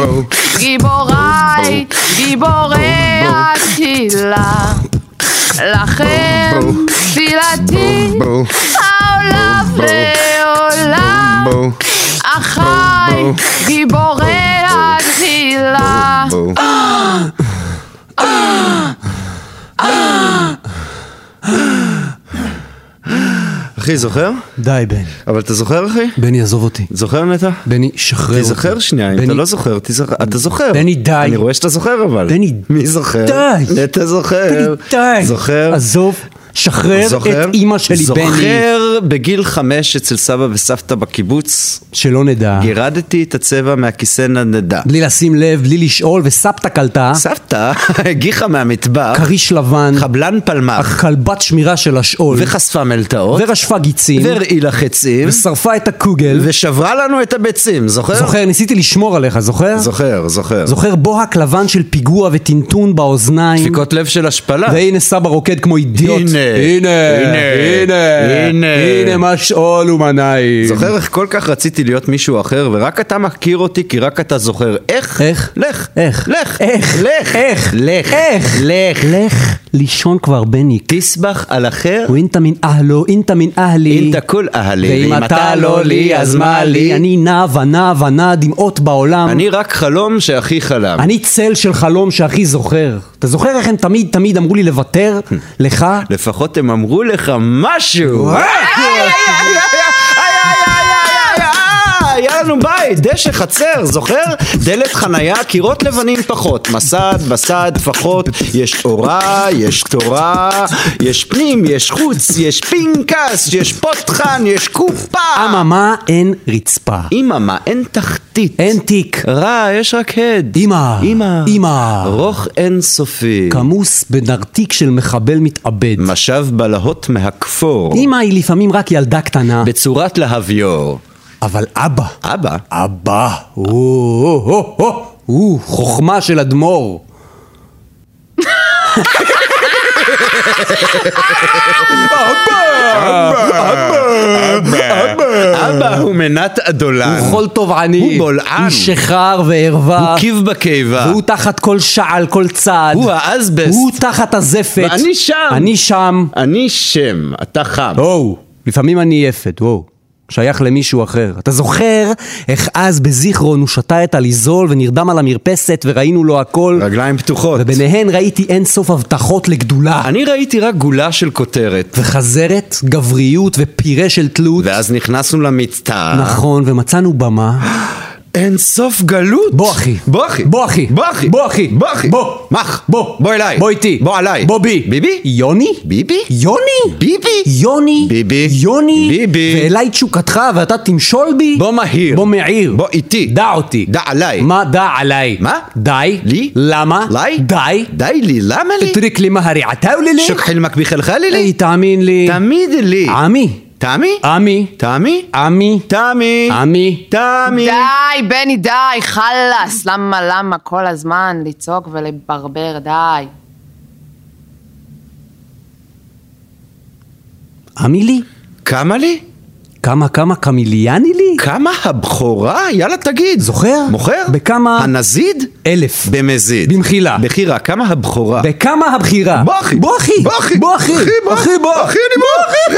[SPEAKER 5] גיבוריי גיבורי הקהילה לכם תפילתי העולם ועולם אחיי, גיבורי הגחילה.
[SPEAKER 4] אחי, זוכר?
[SPEAKER 3] די, בן.
[SPEAKER 4] אבל אתה זוכר, אחי?
[SPEAKER 3] בני, עזוב אותי.
[SPEAKER 4] זוכר, נטע?
[SPEAKER 3] בני, שחרר אותי.
[SPEAKER 4] תיזכר שנייה, אם
[SPEAKER 3] בני-
[SPEAKER 4] אתה לא זוכר, תיזכר- אתה זוכר.
[SPEAKER 3] בני, די.
[SPEAKER 4] אני רואה שאתה זוכר, אבל.
[SPEAKER 3] בני,
[SPEAKER 4] מי זוכר?
[SPEAKER 3] די.
[SPEAKER 4] אתה
[SPEAKER 3] בני,
[SPEAKER 4] זוכר.
[SPEAKER 3] די.
[SPEAKER 4] זוכר.
[SPEAKER 3] עזוב, שחרר את אימא שלי, בני.
[SPEAKER 4] זוכר בגיל חמש אצל סבא וסבתא בקיבוץ,
[SPEAKER 3] שלא נדע.
[SPEAKER 4] גירדתי את הצבע מהכיסא נדנדה.
[SPEAKER 3] בלי לשים לב, בלי לשאול, וסבתא קלטה.
[SPEAKER 4] סבתא הגיחה מהמטבח,
[SPEAKER 3] כריש לבן.
[SPEAKER 4] חבלן פלמח,
[SPEAKER 3] הכלבת שמירה של השאול.
[SPEAKER 4] וחשפה מלטעות,
[SPEAKER 3] ורשפה גיצים.
[SPEAKER 4] והרעילה חצים,
[SPEAKER 3] ושרפה את הקוגל.
[SPEAKER 4] ושברה לנו את הביצים, זוכר?
[SPEAKER 3] זוכר, ניסיתי לשמור עליך, זוכר?
[SPEAKER 4] זוכר, זוכר.
[SPEAKER 3] זוכר בוהק לבן של פיגוע וטינטון באוזניים.
[SPEAKER 4] דפיקות לב של השפלה.
[SPEAKER 3] והנה סבא רוקד כמו אידיוט.
[SPEAKER 4] הנה,
[SPEAKER 3] הנה, הנה,
[SPEAKER 4] הנה.
[SPEAKER 3] הנה מה שאול ומנעים.
[SPEAKER 4] זוכר איך כל כך רציתי להיות מישהו אחר, ורק אתה מכיר אותי כי רק אתה זוכר. איך?
[SPEAKER 3] איך?
[SPEAKER 4] לך.
[SPEAKER 3] איך?
[SPEAKER 4] לך.
[SPEAKER 3] איך?
[SPEAKER 4] לך.
[SPEAKER 3] איך?
[SPEAKER 4] לך.
[SPEAKER 3] איך?
[SPEAKER 4] לך.
[SPEAKER 3] לך לישון כבר, בני.
[SPEAKER 4] תסבח על אחר,
[SPEAKER 3] ואינטה מן אהלו, אינטה מן אהלי.
[SPEAKER 4] אינטה כל אהלי.
[SPEAKER 3] ואם אתה לא לי, אז מה לי? אני נע ונע ונע דמעות בעולם.
[SPEAKER 4] אני רק חלום שאחי חלם.
[SPEAKER 3] אני צל של חלום שהכי זוכר. אתה זוכר איך הם תמיד תמיד אמרו לי לוותר?
[SPEAKER 4] Hmm.
[SPEAKER 3] לך?
[SPEAKER 4] לפחות הם אמרו לך משהו. היה לנו בית, דשא, חצר, זוכר? דלת חנייה, קירות לבנים פחות, מסד, בסד, פחות, יש אורה, יש תורה, יש פנים, יש חוץ, יש פנקס, יש פותחן, יש קופה.
[SPEAKER 3] אממה אין רצפה.
[SPEAKER 4] אממה, אין תחתית.
[SPEAKER 3] אין תיק.
[SPEAKER 4] רע, יש רק הד.
[SPEAKER 3] אמא.
[SPEAKER 4] אמא. אוקיי.
[SPEAKER 3] אמא.
[SPEAKER 4] רוך אינסופי.
[SPEAKER 3] כמוס בנרתיק של מחבל מתאבד.
[SPEAKER 4] משב בלהות מהכפור.
[SPEAKER 3] אמא היא לפעמים רק ילדה קטנה.
[SPEAKER 4] בצורת להביור.
[SPEAKER 3] אבל אבא.
[SPEAKER 4] אבא,
[SPEAKER 3] אבא. או, או, או, או, או, חוכמה של אדמו"ר. אה.
[SPEAKER 4] אבא הוא מנת אדולן.
[SPEAKER 3] הוא חול תובעני.
[SPEAKER 4] הוא בולען.
[SPEAKER 3] הוא שיכר וערווה.
[SPEAKER 4] הוא קיב בקיבה.
[SPEAKER 3] והוא תחת כל שעל, כל צעד.
[SPEAKER 4] הוא האזבסט.
[SPEAKER 3] הוא תחת הזפת.
[SPEAKER 4] ואני שם.
[SPEAKER 3] אני שם.
[SPEAKER 4] אני שם, אתה חם.
[SPEAKER 3] וואו, לפעמים אני יפת, וואו. שייך למישהו אחר. אתה זוכר איך אז בזיכרון הוא שתה את הליזול ונרדם על המרפסת וראינו לו הכל?
[SPEAKER 4] רגליים פתוחות.
[SPEAKER 3] וביניהן ראיתי אין סוף הבטחות לגדולה.
[SPEAKER 4] אני ראיתי רק גולה של כותרת.
[SPEAKER 3] וחזרת, גבריות ופירה של תלות.
[SPEAKER 4] ואז נכנסנו למיטה.
[SPEAKER 3] נכון, ומצאנו במה.
[SPEAKER 4] אין סוף גלות.
[SPEAKER 3] בוא אחי.
[SPEAKER 4] בוא אחי.
[SPEAKER 3] בוא אחי.
[SPEAKER 4] בוא אחי.
[SPEAKER 3] בוא אחי.
[SPEAKER 4] בוא אחי.
[SPEAKER 3] בוא.
[SPEAKER 4] מח.
[SPEAKER 3] בוא.
[SPEAKER 4] בוא אליי.
[SPEAKER 3] בוא איתי.
[SPEAKER 4] בוא עליי.
[SPEAKER 3] בוא בי.
[SPEAKER 4] ביבי?
[SPEAKER 3] יוני?
[SPEAKER 4] ביבי?
[SPEAKER 3] יוני?
[SPEAKER 4] ביבי?
[SPEAKER 3] יוני?
[SPEAKER 4] ביבי.
[SPEAKER 3] יוני?
[SPEAKER 4] ביבי.
[SPEAKER 3] ואליי תשוקתך ואתה תמשול בי?
[SPEAKER 4] בוא מהיר.
[SPEAKER 3] בוא מהיר.
[SPEAKER 4] בוא איתי.
[SPEAKER 3] דע אותי.
[SPEAKER 4] דע עליי.
[SPEAKER 3] מה דע עליי?
[SPEAKER 4] מה?
[SPEAKER 3] די.
[SPEAKER 4] לי?
[SPEAKER 3] למה?
[SPEAKER 4] לי?
[SPEAKER 3] די.
[SPEAKER 4] די לי, למה לי?
[SPEAKER 3] תטריק לי מהרי עטאולי לי?
[SPEAKER 4] שוק חילמק בחלחלי
[SPEAKER 3] אי,
[SPEAKER 4] לי?
[SPEAKER 3] תאמין לי.
[SPEAKER 4] תמיד לי.
[SPEAKER 3] עמי.
[SPEAKER 4] תמי?
[SPEAKER 3] עמי.
[SPEAKER 4] תמי?
[SPEAKER 3] אה. עמי.
[SPEAKER 4] תמי?
[SPEAKER 3] עמי.
[SPEAKER 4] תמי?
[SPEAKER 5] די, בני, די, חלאס. למה, למה כל הזמן לצעוק ולברבר, די.
[SPEAKER 3] עמי לי?
[SPEAKER 4] כמה לי?
[SPEAKER 3] כמה כמה קמיליאני לי?
[SPEAKER 4] כמה הבכורה? יאללה תגיד.
[SPEAKER 3] זוכר?
[SPEAKER 4] מוכר?
[SPEAKER 3] בכמה-
[SPEAKER 4] הנזיד?
[SPEAKER 3] אלף.
[SPEAKER 4] במזיד.
[SPEAKER 3] במחילה.
[SPEAKER 4] בחירה, כמה הבכורה?
[SPEAKER 3] בכמה הבחירה?
[SPEAKER 4] בוא אחי.
[SPEAKER 3] בוא אחי.
[SPEAKER 4] בוא אחי.
[SPEAKER 3] בוא אחי. אחי בוא.
[SPEAKER 4] אחי אני בוא.
[SPEAKER 3] אחי,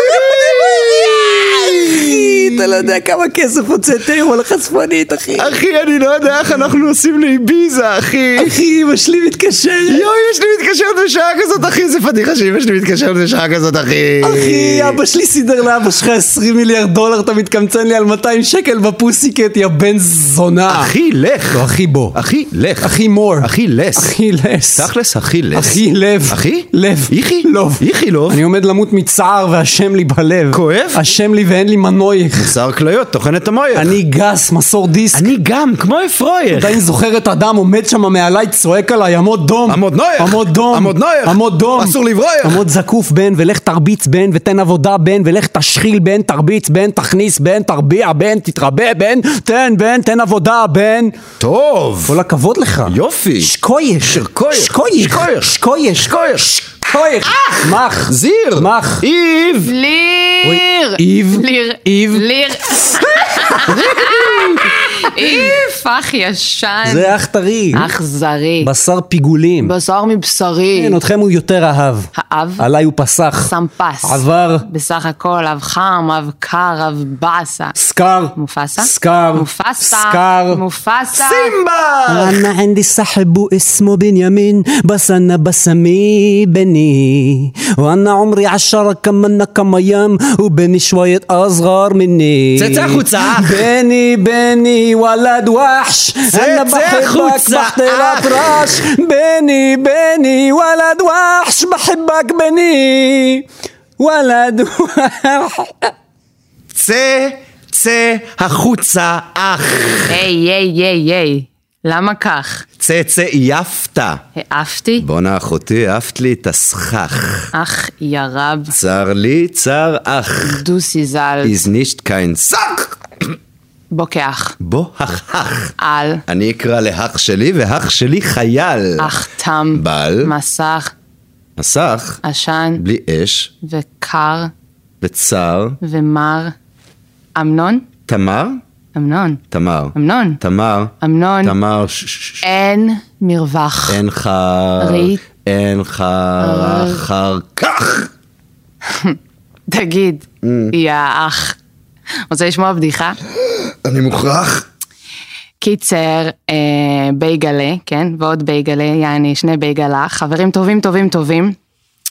[SPEAKER 3] אתה לא יודע כמה כסף הוצאתי היום על החשפנית, אחי.
[SPEAKER 4] אחי, אני לא יודע איך אנחנו נוסעים לאביזה, אחי.
[SPEAKER 3] אחי, אמא שלי מתקשרת.
[SPEAKER 4] יואי, יש לי מתקשרת בשעה כזאת, אחי, זה פדיחה שאמא שלי מתקשרת בשעה כזאת, אחי.
[SPEAKER 3] אחי, אבא שלי סידר לאבא שלך 20 מיליארד דולר, אתה מתקמצן לי על 200 שקל בפוסיקט, יא בן זונה.
[SPEAKER 4] אחי, לך.
[SPEAKER 3] לא, אחי, בוא.
[SPEAKER 4] אחי, לך.
[SPEAKER 3] אחי, מור.
[SPEAKER 4] אחי, לס.
[SPEAKER 3] אחי, לס.
[SPEAKER 4] תכלס, אחי, לס.
[SPEAKER 3] אחי, לב.
[SPEAKER 4] אחי?
[SPEAKER 3] לב. לוב.
[SPEAKER 4] איכילוב.
[SPEAKER 3] אני עומד למות מצער והשם לי בלב.
[SPEAKER 4] כואב?
[SPEAKER 3] השם לי ואין לי מנוייך.
[SPEAKER 4] בשר כליות, טוחן את המויך.
[SPEAKER 3] אני גס, מסור דיסק.
[SPEAKER 4] אני גם, כמו אפרויך.
[SPEAKER 3] עדיין זוכר את האדם עומד שם מעליי, צועק עליי, עמוד דום.
[SPEAKER 4] עמוד נויך.
[SPEAKER 3] עמוד דום.
[SPEAKER 4] עמוד נויך.
[SPEAKER 3] עמוד דום.
[SPEAKER 4] אסור לברויך.
[SPEAKER 3] עמוד זקוף, בן, ולך תרביץ, בן, ותן עבודה, בן, ולך תשחיל, בן, תרביץ, בן, תכניס, בן, תרביע, בן, תתרבה, בן, תן, בן, תן עבודה, בן.
[SPEAKER 4] טוב.
[SPEAKER 3] כל הכבוד לך.
[SPEAKER 4] יופי.
[SPEAKER 3] שקוייך.
[SPEAKER 4] שקוייך.
[SPEAKER 3] שקוייך.
[SPEAKER 4] שקוייך.
[SPEAKER 3] שקוייך.
[SPEAKER 4] שקוייך.
[SPEAKER 3] שקוייך. מח.
[SPEAKER 4] זיר.
[SPEAKER 3] מח.
[SPEAKER 4] איב.
[SPEAKER 5] ליר!
[SPEAKER 3] איב.
[SPEAKER 5] ליר.
[SPEAKER 3] איב.
[SPEAKER 5] ליר. איף, אח ישן.
[SPEAKER 3] זה אך טרי.
[SPEAKER 5] אכזרי.
[SPEAKER 3] בשר פיגולים.
[SPEAKER 5] בשר מבשרי.
[SPEAKER 3] כן, אתכם הוא יותר אהב.
[SPEAKER 5] האב?
[SPEAKER 3] עליי הוא פסח.
[SPEAKER 5] שם פס.
[SPEAKER 3] עבר.
[SPEAKER 5] בסך הכל, אב חם, אב קר, אב באסה.
[SPEAKER 3] סקר.
[SPEAKER 5] מופסה?
[SPEAKER 3] סקר.
[SPEAKER 5] מופסה.
[SPEAKER 3] סקר.
[SPEAKER 5] מופסה.
[SPEAKER 3] סימבה! אנא ענדי סחבו אסמו בנימין, בסנה בסמי בני. ואנא עומרי עשרה כמנה כמיים, ובני שוויית אסגר מני.
[SPEAKER 10] צא החוצה, אח.
[SPEAKER 3] בני בני ולד וחש.
[SPEAKER 10] צא החוצה,
[SPEAKER 3] בחתלת רעש. בני בני ולד וחש, בחבק בני. ולד וחש.
[SPEAKER 10] צא, צא החוצה, אח.
[SPEAKER 5] היי, היי, היי, היי. למה כך?
[SPEAKER 4] צא צא יפת.
[SPEAKER 5] העפתי?
[SPEAKER 4] בואנה אחותי, העפת לי את הסכך.
[SPEAKER 5] אך ירב.
[SPEAKER 4] צר לי, צר אך.
[SPEAKER 5] דוסי ז"ל.
[SPEAKER 4] איז נישט קיין סק!
[SPEAKER 5] בוקח.
[SPEAKER 4] בוא החך.
[SPEAKER 5] על.
[SPEAKER 4] אני אקרא לאח שלי, והאח שלי חייל.
[SPEAKER 5] אך תם.
[SPEAKER 4] בל.
[SPEAKER 5] מסך.
[SPEAKER 4] הסך,
[SPEAKER 5] עשן.
[SPEAKER 4] בלי אש,
[SPEAKER 5] וקר.
[SPEAKER 4] וצר,
[SPEAKER 5] ומר. אמנון?
[SPEAKER 4] תמר?
[SPEAKER 5] אמנון.
[SPEAKER 4] תמר.
[SPEAKER 5] אמנון.
[SPEAKER 4] תמר.
[SPEAKER 5] אמנון.
[SPEAKER 4] תמר. ש- ש- ש-
[SPEAKER 5] אין מרווח.
[SPEAKER 4] אין חר.
[SPEAKER 5] רית.
[SPEAKER 4] אין
[SPEAKER 5] אה.
[SPEAKER 4] חר. אחר כך.
[SPEAKER 5] תגיד,
[SPEAKER 4] Mm.
[SPEAKER 5] יא אח. רוצה לשמוע בדיחה?
[SPEAKER 4] אני מוכרח.
[SPEAKER 5] קיצר, אה, בייגלה, כן? ועוד בייגלה, יעני, שני בייגלה, חברים טובים טובים טובים,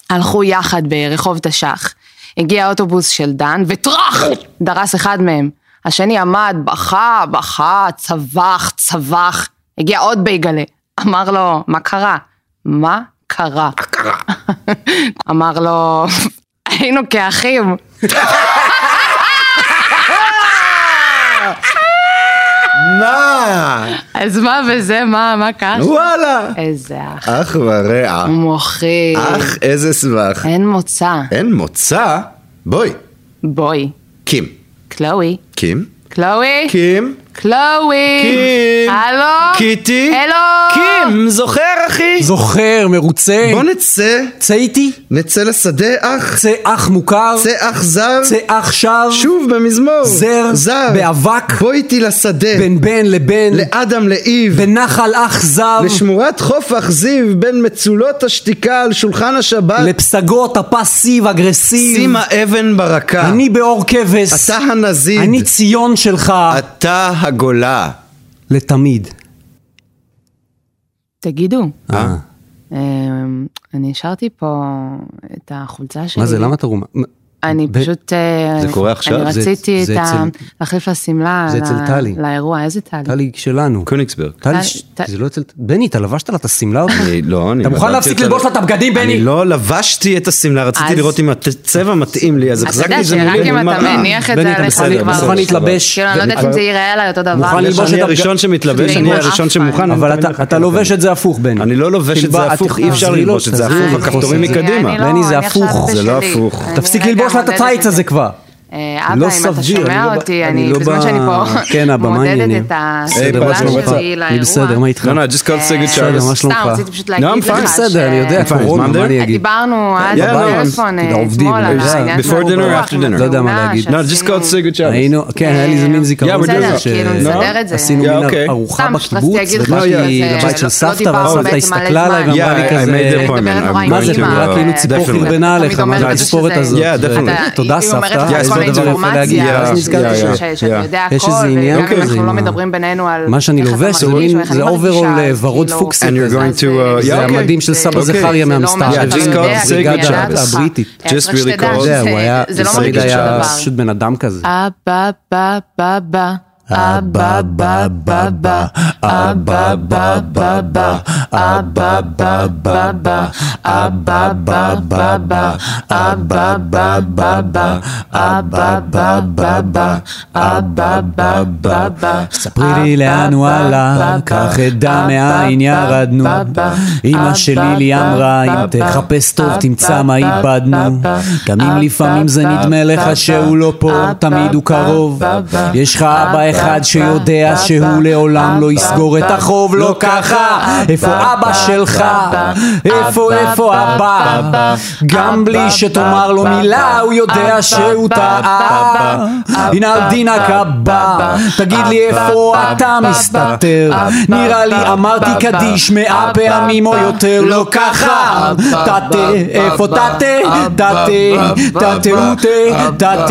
[SPEAKER 5] הלכו יחד ברחוב תש"ח. הגיע האוטובוס של דן, וטראח! דרס אחד מהם. השני עמד, בכה, בכה, צווח, צווח. הגיע עוד בייגלה. אמר לו, מה קרה? מה קרה? מה קרה? [LAUGHS] אמר לו, היינו כאחים.
[SPEAKER 4] מה?
[SPEAKER 5] אז מה וזה, מה, מה קרה?
[SPEAKER 4] וואלה.
[SPEAKER 5] איזה אח.
[SPEAKER 4] אח ורע.
[SPEAKER 5] אמ, מוחי.
[SPEAKER 4] אח איזה סבך.
[SPEAKER 5] אין מוצא.
[SPEAKER 4] אין מוצא? בואי.
[SPEAKER 5] בואי.
[SPEAKER 4] קים.
[SPEAKER 5] קלואי.
[SPEAKER 4] קים?
[SPEAKER 5] קלואי.
[SPEAKER 4] קים?
[SPEAKER 5] קלואי.
[SPEAKER 4] קים.
[SPEAKER 5] הלו.
[SPEAKER 4] קיטי?
[SPEAKER 5] הלו.
[SPEAKER 4] קים, זוכר אחי?
[SPEAKER 3] זוכר, מרוצה.
[SPEAKER 4] בוא נצא,
[SPEAKER 3] צא איתי.
[SPEAKER 4] נצא לשדה אח,
[SPEAKER 3] צא אח מוכר.
[SPEAKER 4] צא אח זר,
[SPEAKER 3] צא אח שב.
[SPEAKER 4] שוב במזמור,
[SPEAKER 3] זר,
[SPEAKER 4] זר,
[SPEAKER 3] באבק,
[SPEAKER 4] בוא איתי לשדה,
[SPEAKER 3] בין בן לבן,
[SPEAKER 4] לאדם לאיב,
[SPEAKER 3] בנחל אח זב,
[SPEAKER 4] לשמורת חוף אכזיב, בין מצולות השתיקה על שולחן השבת,
[SPEAKER 3] לפסגות הפסיב אגרסיב,
[SPEAKER 4] שים האבן ברקה,
[SPEAKER 3] אני באור כבש,
[SPEAKER 4] אתה הנזיד,
[SPEAKER 3] אני ציון שלך,
[SPEAKER 4] אתה הגולה.
[SPEAKER 3] לתמיד.
[SPEAKER 5] תגידו,
[SPEAKER 3] אה,
[SPEAKER 5] אמ, אני השארתי פה את החולצה שלי.
[SPEAKER 3] מה זה, למה אתה רומה?
[SPEAKER 5] אני
[SPEAKER 3] ב-
[SPEAKER 5] פשוט... אה,
[SPEAKER 4] זה קורה עכשיו?
[SPEAKER 5] אני
[SPEAKER 4] זה-
[SPEAKER 5] רציתי
[SPEAKER 3] זה
[SPEAKER 5] את ה...
[SPEAKER 3] אצל-
[SPEAKER 5] להחליף לשמלה.
[SPEAKER 3] זה אצל
[SPEAKER 5] ל-
[SPEAKER 3] טלי.
[SPEAKER 5] לאירוע, איזה טלי?
[SPEAKER 3] טלי שלנו.
[SPEAKER 4] קוניגסברג.
[SPEAKER 3] טלי,
[SPEAKER 5] טל-
[SPEAKER 3] ש-
[SPEAKER 5] טל-
[SPEAKER 3] זה לא אצל... בני, אתה לבשת לה את השמלה אותך?
[SPEAKER 4] אני לא, אני...
[SPEAKER 3] אתה מוכן
[SPEAKER 4] עזבתי
[SPEAKER 3] להפסיק
[SPEAKER 4] אותה
[SPEAKER 3] ללבוש
[SPEAKER 4] ל-
[SPEAKER 3] לה את הבגדים, בני?
[SPEAKER 4] אני לא לבשתי את השמלה, רציתי
[SPEAKER 5] אז-
[SPEAKER 4] לראות אם הצבע מתאים לי, אז
[SPEAKER 5] אתה
[SPEAKER 4] החזקתי
[SPEAKER 5] יודע
[SPEAKER 4] את זה לא
[SPEAKER 5] שרק
[SPEAKER 4] מולי,
[SPEAKER 5] אם
[SPEAKER 4] מול
[SPEAKER 5] אתה
[SPEAKER 4] מראה.
[SPEAKER 5] מניח את
[SPEAKER 3] בני,
[SPEAKER 5] זה
[SPEAKER 3] אתה
[SPEAKER 5] עליך,
[SPEAKER 3] בסדר,
[SPEAKER 5] אני
[SPEAKER 4] בסדר,
[SPEAKER 5] כבר...
[SPEAKER 3] מוכן להתלבש?
[SPEAKER 5] כאילו, אני לא יודעת אם זה ייראה עליי אותו דבר.
[SPEAKER 3] מוכן ללבוש
[SPEAKER 4] אני
[SPEAKER 3] את
[SPEAKER 4] הראשון שמתלבש,
[SPEAKER 5] ועם
[SPEAKER 4] אני
[SPEAKER 5] הרף
[SPEAKER 4] הראשון שמוכן.
[SPEAKER 3] אבל
[SPEAKER 4] אני
[SPEAKER 3] אתה-
[SPEAKER 4] תמיד
[SPEAKER 3] אתה
[SPEAKER 4] מחכה
[SPEAKER 3] לובש
[SPEAKER 4] לכם.
[SPEAKER 3] את זה הפך, בני.
[SPEAKER 4] אני לא לובש את
[SPEAKER 3] תלבש-
[SPEAKER 4] זה הפוך, אי אפשר
[SPEAKER 3] תחזרי לו,
[SPEAKER 4] ללבוש את זה
[SPEAKER 3] תחזרי לו,
[SPEAKER 4] הפוך,
[SPEAKER 3] תחזרי
[SPEAKER 4] הכפתורים
[SPEAKER 3] לו.
[SPEAKER 5] אני-
[SPEAKER 4] מקדימה.
[SPEAKER 5] אני לא,
[SPEAKER 3] בני, זה
[SPEAKER 5] אני
[SPEAKER 3] הפוך.
[SPEAKER 5] עכשיו
[SPEAKER 4] זה לא
[SPEAKER 5] בשלי.
[SPEAKER 4] הפוך.
[SPEAKER 5] אני לא-
[SPEAKER 3] תפסיק
[SPEAKER 5] רגע
[SPEAKER 3] ללבוש לה את
[SPEAKER 5] מודדת
[SPEAKER 3] הטייץ
[SPEAKER 5] זה.
[SPEAKER 3] הזה כבר.
[SPEAKER 5] אה, אבא,
[SPEAKER 3] לא
[SPEAKER 5] אם אתה
[SPEAKER 3] סביר, אני לא
[SPEAKER 5] שומע
[SPEAKER 3] ב-
[SPEAKER 5] אותי,
[SPEAKER 3] אני
[SPEAKER 5] אני
[SPEAKER 3] לא
[SPEAKER 5] בזמן
[SPEAKER 3] ב-
[SPEAKER 5] שאני פה
[SPEAKER 3] כן, הבמה
[SPEAKER 5] מודדת
[SPEAKER 3] העניינים.
[SPEAKER 5] את
[SPEAKER 4] בסדר,
[SPEAKER 5] הסגולה
[SPEAKER 4] מה שלומך?
[SPEAKER 5] שלי לאירוע.
[SPEAKER 3] אני בסדר, מה איתך?
[SPEAKER 4] לא, לא, I just called to say good
[SPEAKER 3] בסדר, מה
[SPEAKER 4] service.
[SPEAKER 3] שלומך?
[SPEAKER 5] סתם, רציתי פשוט
[SPEAKER 4] I'm
[SPEAKER 5] להגיד לך
[SPEAKER 4] fine.
[SPEAKER 3] בסדר, אני יודע,
[SPEAKER 4] fine,
[SPEAKER 3] קורונה,
[SPEAKER 4] mother.
[SPEAKER 3] מה אני אגיד?
[SPEAKER 5] דיברנו אז
[SPEAKER 4] Yeah, no,
[SPEAKER 5] בטלפון
[SPEAKER 3] I'm-
[SPEAKER 5] אה,
[SPEAKER 3] עובדים,
[SPEAKER 5] אתמול על
[SPEAKER 3] it's
[SPEAKER 5] העניין
[SPEAKER 4] before dinner, after dinner.
[SPEAKER 3] לא יודע מה להגיד.
[SPEAKER 4] No, I just called to say good service.
[SPEAKER 3] היינו, כן, היה לי איזה מין זיכרון
[SPEAKER 4] Yeah, we're
[SPEAKER 3] כזה
[SPEAKER 4] doing
[SPEAKER 3] ש-
[SPEAKER 4] that.
[SPEAKER 5] כאילו, נסדר את זה.
[SPEAKER 3] עשינו
[SPEAKER 4] Yeah,
[SPEAKER 3] מין
[SPEAKER 4] okay.
[SPEAKER 3] ארוחה
[SPEAKER 5] סתם, רציתי
[SPEAKER 3] בקיבוץ,
[SPEAKER 5] להגיד לך
[SPEAKER 3] ובאתי
[SPEAKER 5] שזה-
[SPEAKER 3] לבית של
[SPEAKER 5] לא
[SPEAKER 3] סבתא,
[SPEAKER 5] דיברנו
[SPEAKER 3] והסבתא
[SPEAKER 5] בעצם מלא
[SPEAKER 3] הסתכלה עליי
[SPEAKER 5] זמן.
[SPEAKER 3] ואמרה
[SPEAKER 4] Yeah,
[SPEAKER 3] לי
[SPEAKER 4] I made
[SPEAKER 3] כזה...
[SPEAKER 4] the point.
[SPEAKER 5] מדברת נורא
[SPEAKER 3] מה זה,
[SPEAKER 5] אימא,
[SPEAKER 3] זה נראה כאילו
[SPEAKER 5] אה,
[SPEAKER 3] ציפור
[SPEAKER 4] definitely.
[SPEAKER 5] אתה
[SPEAKER 3] חרבנה עליך,
[SPEAKER 5] תמיד אומרת
[SPEAKER 3] מה
[SPEAKER 5] את
[SPEAKER 4] זה
[SPEAKER 3] התספורת
[SPEAKER 5] שזה-
[SPEAKER 3] הזאת.
[SPEAKER 4] Yeah,
[SPEAKER 3] ו-
[SPEAKER 4] definitely.
[SPEAKER 3] תודה
[SPEAKER 5] היא אומרת
[SPEAKER 3] סבתא,
[SPEAKER 5] לך
[SPEAKER 4] Yeah,
[SPEAKER 3] זה
[SPEAKER 5] כל
[SPEAKER 4] it's
[SPEAKER 3] דבר
[SPEAKER 5] מיני
[SPEAKER 4] not
[SPEAKER 3] יפה להגיד.
[SPEAKER 5] אינפורמציה,
[SPEAKER 4] Yeah,
[SPEAKER 5] אז נזכרתי
[SPEAKER 4] yeah,
[SPEAKER 5] ש-
[SPEAKER 4] yeah,
[SPEAKER 5] שאתה
[SPEAKER 4] yeah.
[SPEAKER 5] יודע הכל,
[SPEAKER 3] יש איזה עניין
[SPEAKER 5] וגם אם
[SPEAKER 3] כזה
[SPEAKER 5] אנחנו
[SPEAKER 3] עם
[SPEAKER 5] לא
[SPEAKER 3] ה-
[SPEAKER 5] מדברים בינינו על
[SPEAKER 3] מה שאני
[SPEAKER 5] איך אתה
[SPEAKER 3] לובש זה
[SPEAKER 5] מרגיש
[SPEAKER 3] מין-
[SPEAKER 5] או איך אני
[SPEAKER 3] זה
[SPEAKER 5] מרגישה,
[SPEAKER 3] overall, אה,
[SPEAKER 5] אז
[SPEAKER 3] ורוד
[SPEAKER 5] כאילו-
[SPEAKER 3] פוקסי
[SPEAKER 4] And you're
[SPEAKER 5] כזה.
[SPEAKER 4] going
[SPEAKER 5] אז,
[SPEAKER 4] to, uh,
[SPEAKER 5] אה,
[SPEAKER 4] yeah,
[SPEAKER 3] זה
[SPEAKER 4] okay.
[SPEAKER 3] המדים של סבא
[SPEAKER 4] אוקיי.
[SPEAKER 3] זכריה
[SPEAKER 5] זה לא אומר
[SPEAKER 3] מהמסטארט.
[SPEAKER 5] שאתה
[SPEAKER 4] Just
[SPEAKER 5] לא
[SPEAKER 4] called
[SPEAKER 5] יודע,
[SPEAKER 4] to say
[SPEAKER 5] כאילו,
[SPEAKER 4] good
[SPEAKER 5] ידעת.
[SPEAKER 4] job.
[SPEAKER 3] הבריטית.
[SPEAKER 5] היה צריך
[SPEAKER 4] Just really
[SPEAKER 5] שתדע
[SPEAKER 4] called.
[SPEAKER 3] אתה יודע, הוא היה,
[SPEAKER 5] שזה- זה לא
[SPEAKER 4] Just
[SPEAKER 3] שריד
[SPEAKER 5] מרגיש
[SPEAKER 4] really
[SPEAKER 5] אותו
[SPEAKER 3] היה
[SPEAKER 5] דבר.
[SPEAKER 3] פשוט בן אדם כזה.
[SPEAKER 5] אבא בא בא בא אבא בא בא בא אבא בא בא בא אבא בא בא בא אבא בא בא בא אבא בא בא בא אבא בא בא בא אבא בא בא בא
[SPEAKER 3] ספרי לי לאן הוא הלך, קח את דם מהעין ירדנו. אמא שלי לי אמרה, אם תחפש טוב תמצא מה איבדנו. גם אם לפעמים זה נדמה לך שהוא לא פה, תמיד הוא קרוב. יש לך אבא
[SPEAKER 11] אחד שיודע שהוא לעולם לא יסגור את החוב לא ככה איפה אבא שלך? איפה איפה הבא? גם בלי שתאמר לו מילה הוא יודע שהוא טעה הנה הדינק הבא תגיד לי איפה אתה מסתתר נראה לי אמרתי קדיש מאה פעמים או יותר לא ככה תתה איפה תתה? תתה תתה ותתה תתה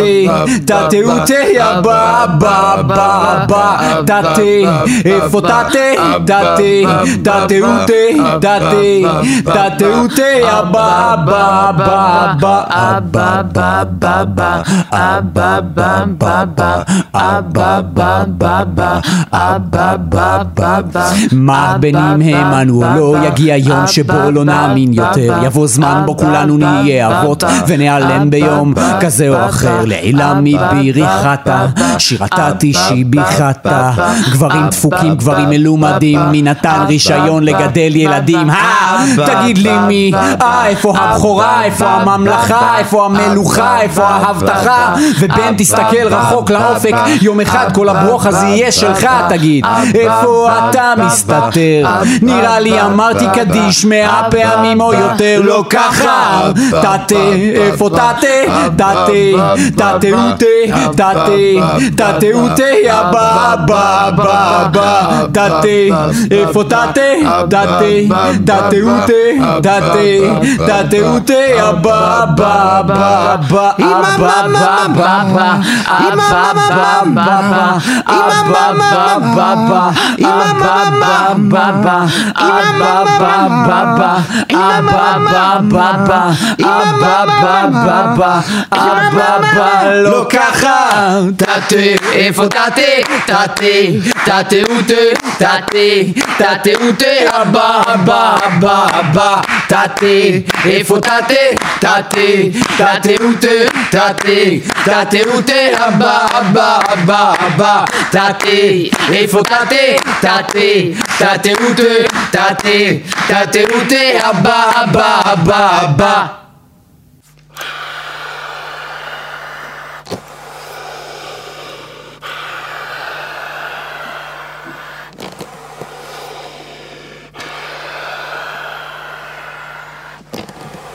[SPEAKER 11] תתה ותתה הבא הבא הבא הבא תתה איפה תתה? תתה תתה ותתה תתה תתה ותתה הבא הבא הבא הבא הבא הבא הבא הבא הבא הבא הבא הבא הבא הבא הבא הבא מה בינים האמנו או לא יגיע יום שבו לא נאמין יותר יבוא זמן בו כולנו נהיה אבות ונעלם ביום כזה או אחר לעילה מביריחתה שירתה תשי ביחתה גברים דפוקים גברים מלומדים מי נתן רישיון לגדל ילדים אה, תגיד לי מי אה איפה הבכורה איפה הממלכה איפה המלוכה איפה ההבטחה ובן תסתכל רחוק לאופק יום אחד כל הברוך הזה יהיה שלך תגיד איפה אתה מסתתר נראה לי אמרתי קדיש מאה פעמים או יותר לא ככה תתה איפה תתה תתה תתה ותה תתה תתה ותה הבא הבא הבא הבא תתה איפה תתה תתה תתה ותה תתה תתה
[SPEAKER 4] Ah,
[SPEAKER 11] ותה הבא
[SPEAKER 4] bah,
[SPEAKER 11] הבא הבא הבא הבא הבא הבא
[SPEAKER 4] ah, bah, bah, ah, bah, bah, ah, bah,
[SPEAKER 11] לא ככה תתה איפה תתה תתה תתה ותה תתה תתה ותה הבא הבא הבא הבא תתה איפה תתה תתה תתה ותה תתה תתה ותה הבא הבא הבא הבא תתה איפה תתה תתה תתה ותה תתה תתה ותה הבא הבא הבא הבא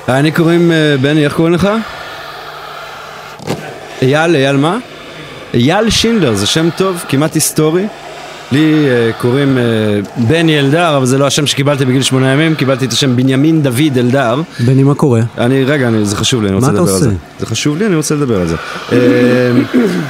[SPEAKER 4] אני קוראים, אה, בני, איך קוראים לך? אייל, אייל מה? אייל שינדלר, זה שם טוב, כמעט היסטורי. לי אה, קוראים אה, בני אלדר, אבל זה לא השם שקיבלתי בגיל שמונה ימים, קיבלתי את השם בנימין דוד אלדר.
[SPEAKER 3] בני, מה קורה?
[SPEAKER 4] אני, רגע, אני, זה חשוב לי, אני
[SPEAKER 3] מה
[SPEAKER 4] רוצה
[SPEAKER 3] אתה
[SPEAKER 4] לדבר על
[SPEAKER 3] עושה?
[SPEAKER 4] זה. זה חשוב לי, אני רוצה לדבר על זה. אה,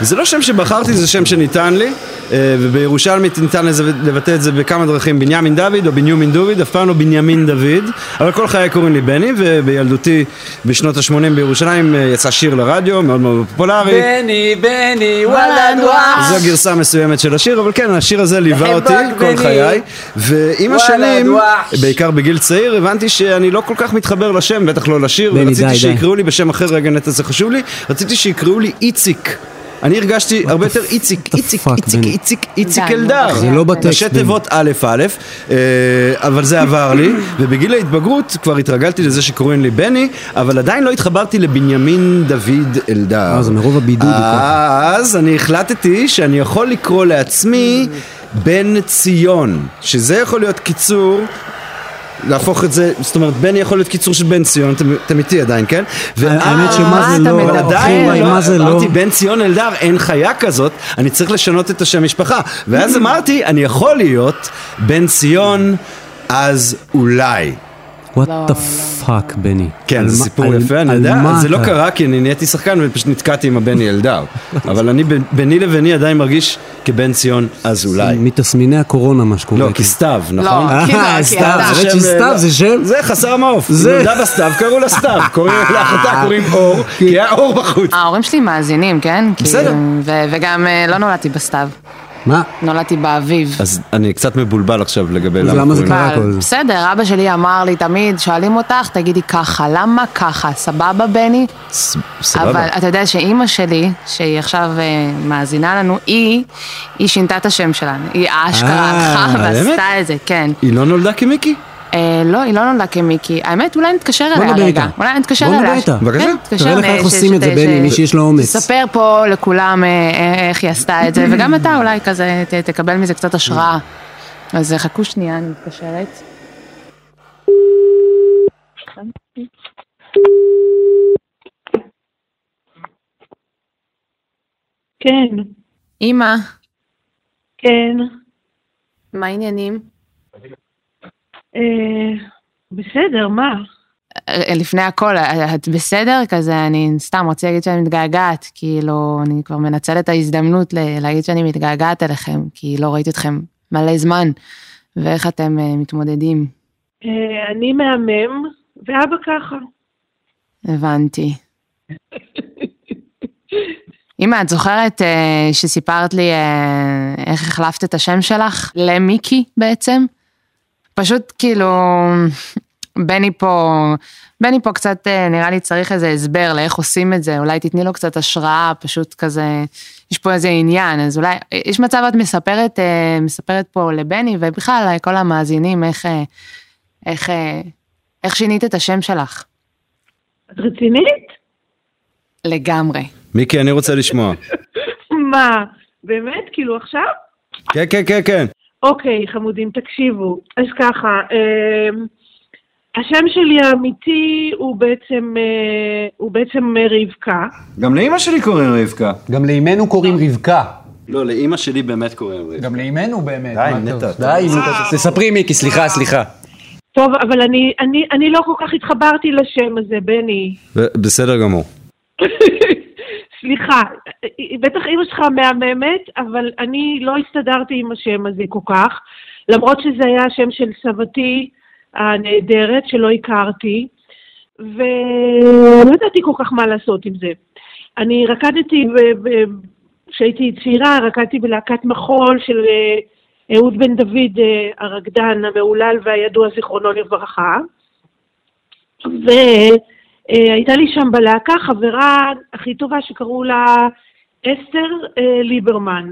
[SPEAKER 4] זה לא שם שבחרתי, זה שם שניתן לי, אה, ובירושלמית ניתן לזה- לבטא את זה בכמה דרכים, בנימין דוד או בנימין דוד, אף פעם לא בנימין דוד, אבל כל חיי קוראים לי בני, ובילדותי בשנות ה-80 בירושלים אה, יצא שיר לרדיו, מאוד מאוד פופולרי.
[SPEAKER 11] בני, בני, וואלה, נואש.
[SPEAKER 4] זו גרסה מסוימת של השיר, אבל כן, השיר הזה ליווה אותי
[SPEAKER 11] חבק
[SPEAKER 4] כל
[SPEAKER 11] בני.
[SPEAKER 4] חיי, ועם
[SPEAKER 11] וואלה,
[SPEAKER 4] השנים,
[SPEAKER 11] דואש.
[SPEAKER 4] בעיקר בגיל צעיר, הבנתי שאני לא כל כך מתחבר לשם, בטח לא לשיר,
[SPEAKER 11] בני, די,
[SPEAKER 4] ורציתי
[SPEAKER 11] די.
[SPEAKER 4] שיקראו לי בשם אחר, רגע נטע זה חשוב לי, רציתי שיקראו לי איציק. אני הרגשתי הרבה יותר איציק, איציק, איציק, איציק, איציק
[SPEAKER 11] די, נו,
[SPEAKER 4] אלדר.
[SPEAKER 11] בחייאת. זה לא בטקסט,
[SPEAKER 4] ראשי
[SPEAKER 11] בני.
[SPEAKER 4] תיבות א' א', אה, אבל זה עבר לי, ובגיל ההתבגרות כבר התרגלתי לזה שקוראים לי בני, אבל עדיין לא התחברתי לבנימין דוד אלדר.
[SPEAKER 3] אה, זה מרוב הבידוד. הוא ככה.
[SPEAKER 4] אז אני החלטתי שאני יכול לקרוא לעצמי בן ציון, שזה יכול להיות קיצור. להפוך את זה, זאת אומרת, בני יכול להיות קיצור של בן ציון, אתם- אתם איתי עדיין, כן?
[SPEAKER 3] אה,
[SPEAKER 11] אה,
[SPEAKER 4] אה,
[SPEAKER 3] האמת שמה זה לא-
[SPEAKER 4] אבל עדיין,
[SPEAKER 3] אחי, מה זה לא-
[SPEAKER 4] אמרתי, בן ציון אלדר, אין חיה כזאת, אני צריך לשנות את השם משפחה. ואז אמרתי, אני יכול להיות בן ציון, אז אולי.
[SPEAKER 3] וואט דה פאק, בני.
[SPEAKER 4] כן,
[SPEAKER 3] על
[SPEAKER 4] זה
[SPEAKER 3] מה-
[SPEAKER 4] סיפור
[SPEAKER 3] על-
[SPEAKER 4] יפה, אני
[SPEAKER 3] על
[SPEAKER 4] יודע,
[SPEAKER 3] מה
[SPEAKER 4] זה לא
[SPEAKER 3] אתה-
[SPEAKER 4] קרה כי אני נהייתי שחקן ופשוט נתקעתי עם הבני
[SPEAKER 3] [LAUGHS]
[SPEAKER 4] אלדר. אבל אני ב- ביני לביני עדיין מרגיש כבן ציון אזולאי.
[SPEAKER 3] מתסמיני הקורונה, מה שקורה. כן.
[SPEAKER 4] לא, כסתיו, נכון?
[SPEAKER 3] אה, כאילו, כי סתיו, אתה- אוקיי. האמת שסתיו זה שם?
[SPEAKER 4] לא. זה חסר מעוף.
[SPEAKER 3] זה-
[SPEAKER 4] זה...
[SPEAKER 3] אה,
[SPEAKER 4] נולדה בסתיו, קראו לה
[SPEAKER 3] [LAUGHS]
[SPEAKER 4] סתיו. קוראים לאחותה, קוראים אור, כי היה אור בחוץ.
[SPEAKER 5] ההורים שלי מאזינים, כן?
[SPEAKER 4] בסדר.
[SPEAKER 5] כי- ו- וגם אה, לא נולדתי בסתיו,
[SPEAKER 3] מה?
[SPEAKER 5] נולדתי באביב.
[SPEAKER 4] אז אני קצת מבולבל עכשיו לגבי למה
[SPEAKER 3] למה זה
[SPEAKER 4] קוראים
[SPEAKER 5] אבל בסדר, אבא שלי אמר לי תמיד, שואלים אותך, תגידי ככה, למה ככה, סבבה בני?
[SPEAKER 4] ס-
[SPEAKER 5] אבל
[SPEAKER 4] סבבה.
[SPEAKER 5] אתה יודע שאימא שלי, שהיא עכשיו אה, מאזינה לנו, היא, היא שינתה את השם שלנו. היא אשכרה
[SPEAKER 4] אה,
[SPEAKER 5] הלכה
[SPEAKER 4] באמת?
[SPEAKER 5] ועשתה את זה, כן.
[SPEAKER 4] היא לא נולדה כמיקי?
[SPEAKER 5] אה, לא, היא לא נולדה כמיקי. האמת, אולי נתקשר אליה
[SPEAKER 3] נדבר
[SPEAKER 5] רגע.
[SPEAKER 3] איתה.
[SPEAKER 5] אולי נתקשר
[SPEAKER 3] בוא
[SPEAKER 5] אליה.
[SPEAKER 3] נדבר איתה. בבקשה.
[SPEAKER 5] כן, נתקשר,
[SPEAKER 3] תראה לך
[SPEAKER 5] אה,
[SPEAKER 3] איך
[SPEAKER 5] ש-
[SPEAKER 3] עושים את זה,
[SPEAKER 5] ש-
[SPEAKER 3] בני,
[SPEAKER 5] ש-
[SPEAKER 3] מי שיש לו אומץ.
[SPEAKER 5] תספר פה לכולם אה, אה, איך היא עשתה
[SPEAKER 3] [CLEARS THROAT]
[SPEAKER 5] את זה, וגם אתה אולי כזה ת- תקבל מזה קצת השראה. אז אה, חכו שנייה, אני מתקשרת.
[SPEAKER 12] כן.
[SPEAKER 5] אמא.
[SPEAKER 12] כן.
[SPEAKER 5] מה העניינים?
[SPEAKER 12] אה, בסדר, מה?
[SPEAKER 5] אה, לפני הכל, אה, את בסדר? כזה, אני סתם רוצה להגיד שאני מתגעגעת, כאילו, אני כבר מנצלת את ההזדמנות ל- להגיד שאני מתגעגעת אליכם, כי לא ראיתי אתכם מלא זמן, ואיך אתם אה, מתמודדים.
[SPEAKER 12] אה, אני מהמם, ואבא ככה.
[SPEAKER 5] הבנתי. אמא, את זוכרת אה, שסיפרת לי אה, איך החלפת את השם שלך למיקי בעצם? פשוט כאילו, בני פה, בני פה קצת אה, נראה לי צריך איזה הסבר לאיך עושים את זה, אולי תתני לו קצת השראה, פשוט כזה, יש פה איזה עניין, אז אולי, אה, יש מצב את מספרת, אה, מספרת פה לבני ובכלל לכל המאזינים איך, אה, איך, אה, איך שינית את השם שלך.
[SPEAKER 12] את רצינית?
[SPEAKER 5] לגמרי.
[SPEAKER 4] מיקי, אני רוצה לשמוע.
[SPEAKER 12] מה? באמת? כאילו עכשיו?
[SPEAKER 4] כן, כן, כן, כן.
[SPEAKER 12] אוקיי, חמודים, תקשיבו. אז ככה, אמ, השם שלי האמיתי הוא בעצם, אה, הוא בעצם אה, רבקה.
[SPEAKER 4] גם לאימא שלי קוראים רבקה.
[SPEAKER 3] גם לאימנו קוראים רבקה.
[SPEAKER 4] לא, לאימא שלי באמת קוראים רבקה.
[SPEAKER 3] גם לאימנו באמת.
[SPEAKER 4] די, נטע.
[SPEAKER 3] די, אה. תספרי מיקי, סליחה, סליחה.
[SPEAKER 12] טוב, אבל אני, אני, אני לא כל כך התחברתי לשם הזה, בני.
[SPEAKER 4] ו- בסדר גמור.
[SPEAKER 12] סליחה, בטח אימא שלך מהממת, אבל אני לא הסתדרתי עם השם הזה כל כך, למרות שזה היה השם של סבתי הנהדרת, שלא הכרתי, ולא ידעתי כל כך מה לעשות עם זה. אני רקדתי, ב- ב- כשהייתי צעירה, רקדתי בלהקת מחול של אה, אהוד בן דוד, אה, הרקדן המהולל והידוע, זיכרונו לברכה. והייתה אה, לי שם בלהקה חברה הכי טובה שקראו לה אסתר אה, ליברמן.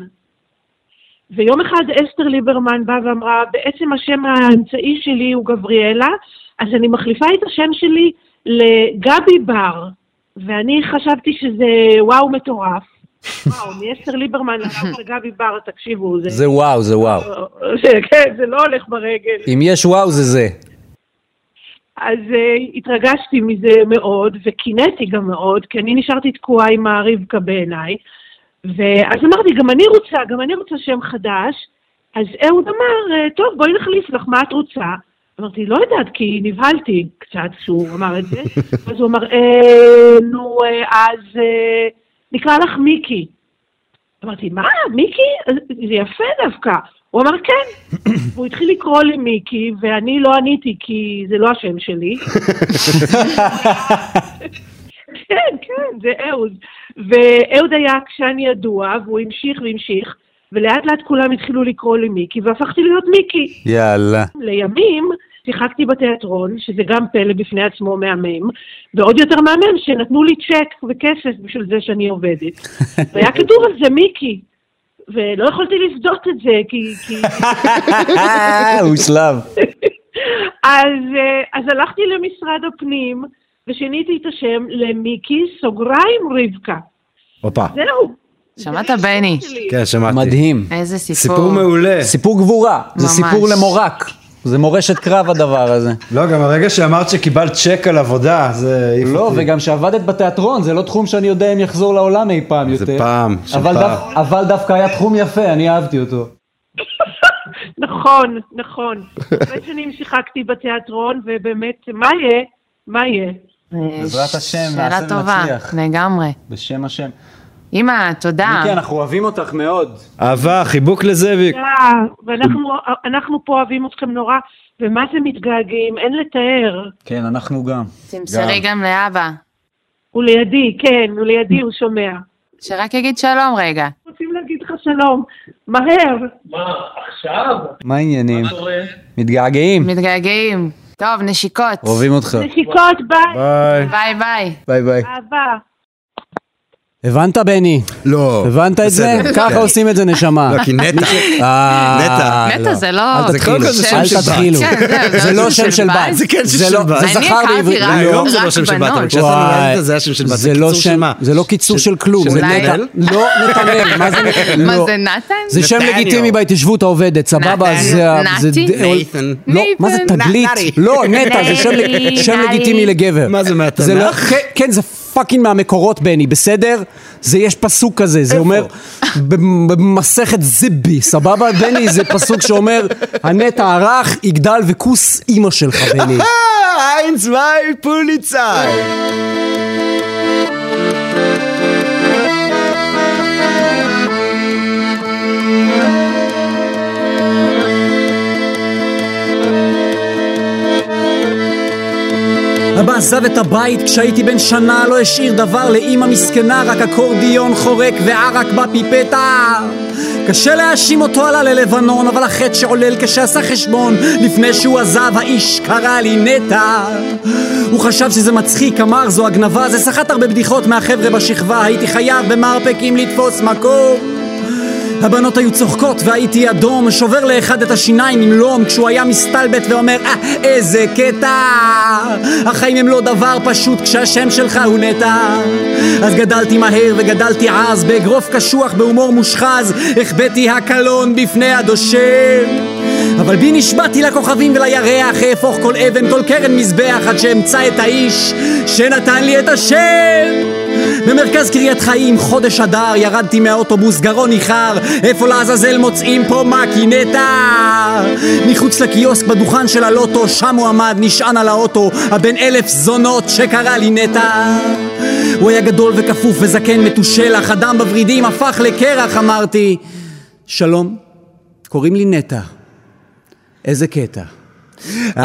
[SPEAKER 12] ויום אחד אסתר ליברמן באה ואמרה, בעצם השם האמצעי שלי הוא גבריאלה, אז אני מחליפה את השם שלי לגבי בר. ואני חשבתי שזה וואו מטורף. וואו, מאסתר ליברמן לקחת לגבי בר, תקשיבו, זה...
[SPEAKER 3] זה וואו, זה וואו.
[SPEAKER 12] [LAUGHS] כן, זה לא הולך ברגל.
[SPEAKER 3] אם יש וואו זה זה.
[SPEAKER 12] אז uh, התרגשתי מזה מאוד, וקינאתי גם מאוד, כי אני נשארתי תקועה עם הרבקה בעיניי. ואז אמרתי, גם אני רוצה, גם אני רוצה שם חדש. אז אהוד אמר, "אה, טוב, בואי נחליף לך, מה את רוצה? אמרתי, לא יודעת, כי נבהלתי קצת שהוא אמר את זה. אז הוא אמר, אה, נו, אה, אז אה, נקרא לך מיקי. אמרתי, מה, מיקי? אז זה יפה דווקא. הוא אמר, כן. והוא התחיל לקרוא לי מיקי, ואני לא עניתי, כי זה לא השם שלי. כן, כן, זה אהוד. ואהוד היה עקשן ידוע, והוא המשיך והמשיך, ולאט לאט כולם התחילו לקרוא לי מיקי, והפכתי להיות מיקי.
[SPEAKER 3] יאללה.
[SPEAKER 12] לימים שיחקתי בתיאטרון, שזה גם פלא בפני עצמו מהמם, ועוד יותר מהמם שנתנו לי צ'ק וכסף בשביל זה שאני עובדת. והיה כתוב על זה מיקי, ולא יכולתי לפדות את זה, כי... כי...
[SPEAKER 4] אה,
[SPEAKER 3] הוא שלב.
[SPEAKER 12] אז, אה, אז הלכתי למשרד הפנים, ושיניתי את השם למיקי, סוגריים רבקה.
[SPEAKER 4] הופה.
[SPEAKER 12] זהו.
[SPEAKER 5] שמעת בני?
[SPEAKER 4] כן, שמעתי.
[SPEAKER 3] מדהים.
[SPEAKER 5] איזה סיפור.
[SPEAKER 3] סיפור גבורה. זה
[SPEAKER 5] ממש.
[SPEAKER 3] סיפור למורק. זה מורשת קרב הדבר הזה.
[SPEAKER 4] לא, גם הרגע שאמרת שקיבלת צ'ק על עבודה, זה... העיף
[SPEAKER 3] לא,
[SPEAKER 4] אותי.
[SPEAKER 3] וגם שעבדת בתיאטרון, זה לא תחום שאני יודע אם יחזור לעולם אי פעם יותר.
[SPEAKER 4] פעם, של
[SPEAKER 3] אבל
[SPEAKER 4] פעם.
[SPEAKER 3] דווקא- אבל דווקא היה תחום יפה, אני אהבתי אותו.
[SPEAKER 12] נכון, נכון. הרבה שנים שיחקתי בתיאטרון, ובאמת, מה יהיה? מה יהיה?
[SPEAKER 3] בעזרת השם, נעשה
[SPEAKER 5] שאלה אה, טובה,
[SPEAKER 3] ונצליח.
[SPEAKER 5] לגמרי.
[SPEAKER 3] בשם השם.
[SPEAKER 5] אמא, תודה.
[SPEAKER 3] מיקי, אנחנו אוהבים אותך מאוד.
[SPEAKER 4] אהבה, חיבוק לזאביק.
[SPEAKER 12] אה, ואנחנו אנחנו פה אוהבים אתכם נורא, ומה זה מתגעגעים? אין לתאר.
[SPEAKER 3] כן, אנחנו גם.
[SPEAKER 5] תמסרי גם לאבא.
[SPEAKER 12] הוא לידי, כן, הוא לידי, הוא שומע.
[SPEAKER 5] שרק יגיד שלום רגע.
[SPEAKER 12] רוצים להגיד לך שלום, מהר.
[SPEAKER 9] מה, עכשיו?
[SPEAKER 3] מה העניינים?
[SPEAKER 9] מה קורה?
[SPEAKER 3] מתגעגעים.
[SPEAKER 5] מתגעגעים. טוב, נשיקות.
[SPEAKER 3] אוהבים אותך.
[SPEAKER 12] נשיקות, ביי.
[SPEAKER 3] ביי.
[SPEAKER 5] ביי ביי.
[SPEAKER 3] ביי ביי.
[SPEAKER 12] אהבה.
[SPEAKER 3] הבנת, בני?
[SPEAKER 4] לא.
[SPEAKER 3] הבנת את זה?
[SPEAKER 4] בסדר.
[SPEAKER 3] ככה
[SPEAKER 4] כן.
[SPEAKER 3] עושים את זה, נשמה.
[SPEAKER 4] לא, כי נטע.
[SPEAKER 3] אה,
[SPEAKER 4] נטע. כאילו
[SPEAKER 3] לא.
[SPEAKER 5] נטע זה לא...
[SPEAKER 3] אל
[SPEAKER 5] זה
[SPEAKER 3] תתחילו,
[SPEAKER 5] קודם כל זה
[SPEAKER 3] אל
[SPEAKER 5] שם של
[SPEAKER 3] תתחילו.
[SPEAKER 5] בת. כן,
[SPEAKER 3] זה לא שם של בת.
[SPEAKER 5] זה כן שם
[SPEAKER 3] זה
[SPEAKER 5] של
[SPEAKER 3] לא-
[SPEAKER 5] בת.
[SPEAKER 3] זה
[SPEAKER 5] אני
[SPEAKER 3] זכר
[SPEAKER 5] הכרתי
[SPEAKER 3] בעברית.
[SPEAKER 5] רק
[SPEAKER 3] לא.
[SPEAKER 5] היום זה לא רק שם של בת, אבל בנות.
[SPEAKER 4] כשאתה נולדת
[SPEAKER 3] וואי.
[SPEAKER 4] זה היה שם של בת.
[SPEAKER 3] זה
[SPEAKER 4] זה
[SPEAKER 3] לא
[SPEAKER 4] קיצור של
[SPEAKER 3] שם-
[SPEAKER 4] מה?
[SPEAKER 3] זה לא קיצור של כלום.
[SPEAKER 5] של
[SPEAKER 3] זה
[SPEAKER 5] נטע?
[SPEAKER 3] נטע. לא, נתנאל, מה זה נתנאל?
[SPEAKER 5] מה
[SPEAKER 3] לא.
[SPEAKER 5] זה נתן?
[SPEAKER 3] זה שם
[SPEAKER 5] נתניהו.
[SPEAKER 3] לגיטימי בהתיישבות העובדת, סבבה?
[SPEAKER 5] נתן.
[SPEAKER 3] זה... ה- זה
[SPEAKER 5] נתי?
[SPEAKER 3] ד-
[SPEAKER 5] נייתן.
[SPEAKER 3] לא, מה זה
[SPEAKER 5] נייתן.
[SPEAKER 3] תגלית?
[SPEAKER 5] נרי.
[SPEAKER 3] לא, נטע, זה שם-
[SPEAKER 5] נרי,
[SPEAKER 3] שם
[SPEAKER 5] נרי.
[SPEAKER 3] לגיטימי לגבר. מה זה
[SPEAKER 4] מהתנ"ך?
[SPEAKER 3] כן, זה פאקינג מהמקורות, בני, בסדר? זה יש פסוק כזה, זה אומר... במ- במסכת זיבי, סבבה, בני? זה פסוק שאומר, הנטע הרך יגדל וכוס אימא שלך, בני. אה,
[SPEAKER 10] Ein, zwei, Polizei!
[SPEAKER 11] אבא עזב את הבית כשהייתי בן שנה, לא השאיר דבר לאימא מסכנה, רק אקורדיון חורק וערק בפיפטה. קשה להאשים אותו עלה ללבנון, אבל החטא שעולל כשעשה חשבון, לפני שהוא עזב האיש קרא לי נטע. הוא חשב שזה מצחיק, אמר זו הגנבה, זה סחט הרבה בדיחות מהחבר'ה בשכבה, הייתי חייב במרפקים לתפוס מקום. הבנות היו צוחקות והייתי אדום, שובר לאחד את השיניים עם לום כשהוא היה מסתלבט ואומר אה, איזה קטע! החיים הם לא דבר פשוט כשהשם שלך הוא נטע. אז גדלתי מהר וגדלתי עז, באגרוף קשוח, בהומור מושחז, החבאתי הקלון בפני הדושן. אבל בי נשבעתי לכוכבים ולירח, אהפוך כל אבן, כל קרן מזבח, עד שאמצא את האיש שנתן לי את השם. במרכז קריית חיים, חודש אדר, ירדתי מהאוטובוס, גרון ניחר, איפה לעזאזל מוצאים פה מקינטה? מחוץ לקיוסק בדוכן של הלוטו, שם הוא עמד, נשען על האוטו, הבן אלף זונות שקרא לי נטע. הוא היה גדול וכפוף וזקן מתושלח, אדם בוורידים הפך לקרח, אמרתי. שלום, קוראים לי נטע. איזה קטע.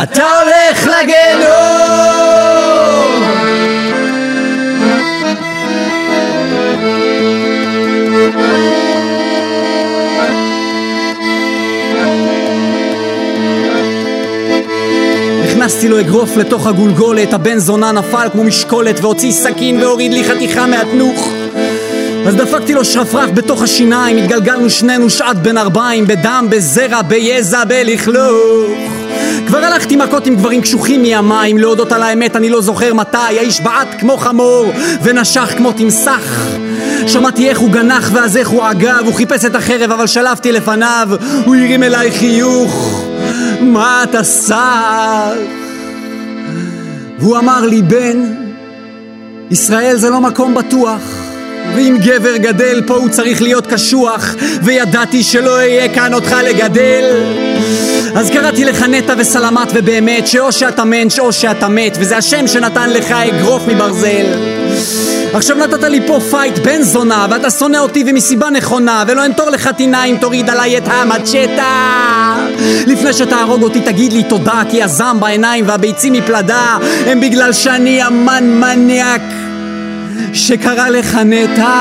[SPEAKER 11] אתה הולך לגיהנום! הכנסתי לו אגרוף לתוך הגולגולת, הבן זונה נפל כמו משקולת והוציא סכין והוריד לי חתיכה מהתנוך אז דפקתי לו שרפרף בתוך השיניים, התגלגלנו שנינו שעת בין ארבעים, בדם, בזרע, ביזע, בלכלוך. כבר הלכתי מכות עם גברים קשוחים מהמים, להודות על האמת אני לא זוכר מתי, האיש בעט כמו חמור ונשך כמו תמסך. שמעתי איך הוא גנח ואז איך הוא עגב, הוא חיפש את החרב אבל שלפתי לפניו, הוא הרים אליי חיוך, מה אתה סך? והוא אמר לי, בן, ישראל זה לא מקום בטוח. ואם גבר גדל, פה הוא צריך להיות קשוח, וידעתי שלא אהיה כאן אותך לגדל. אז קראתי לך נטע וסלמת ובאמת, שאו שאתה מענץ' או שאתה מת, וזה השם שנתן לך אגרוף מברזל. עכשיו נתת לי פה פייט בן זונה, ואתה שונא אותי ומסיבה נכונה, ולא אמתור לך טינה אם תוריד עליי את המצ'טה. לפני שתהרוג אותי תגיד לי תודה, כי הזעם בעיניים והביצים מפלדה, הם בגלל שאני אמן מניאק שקרא לך נטע.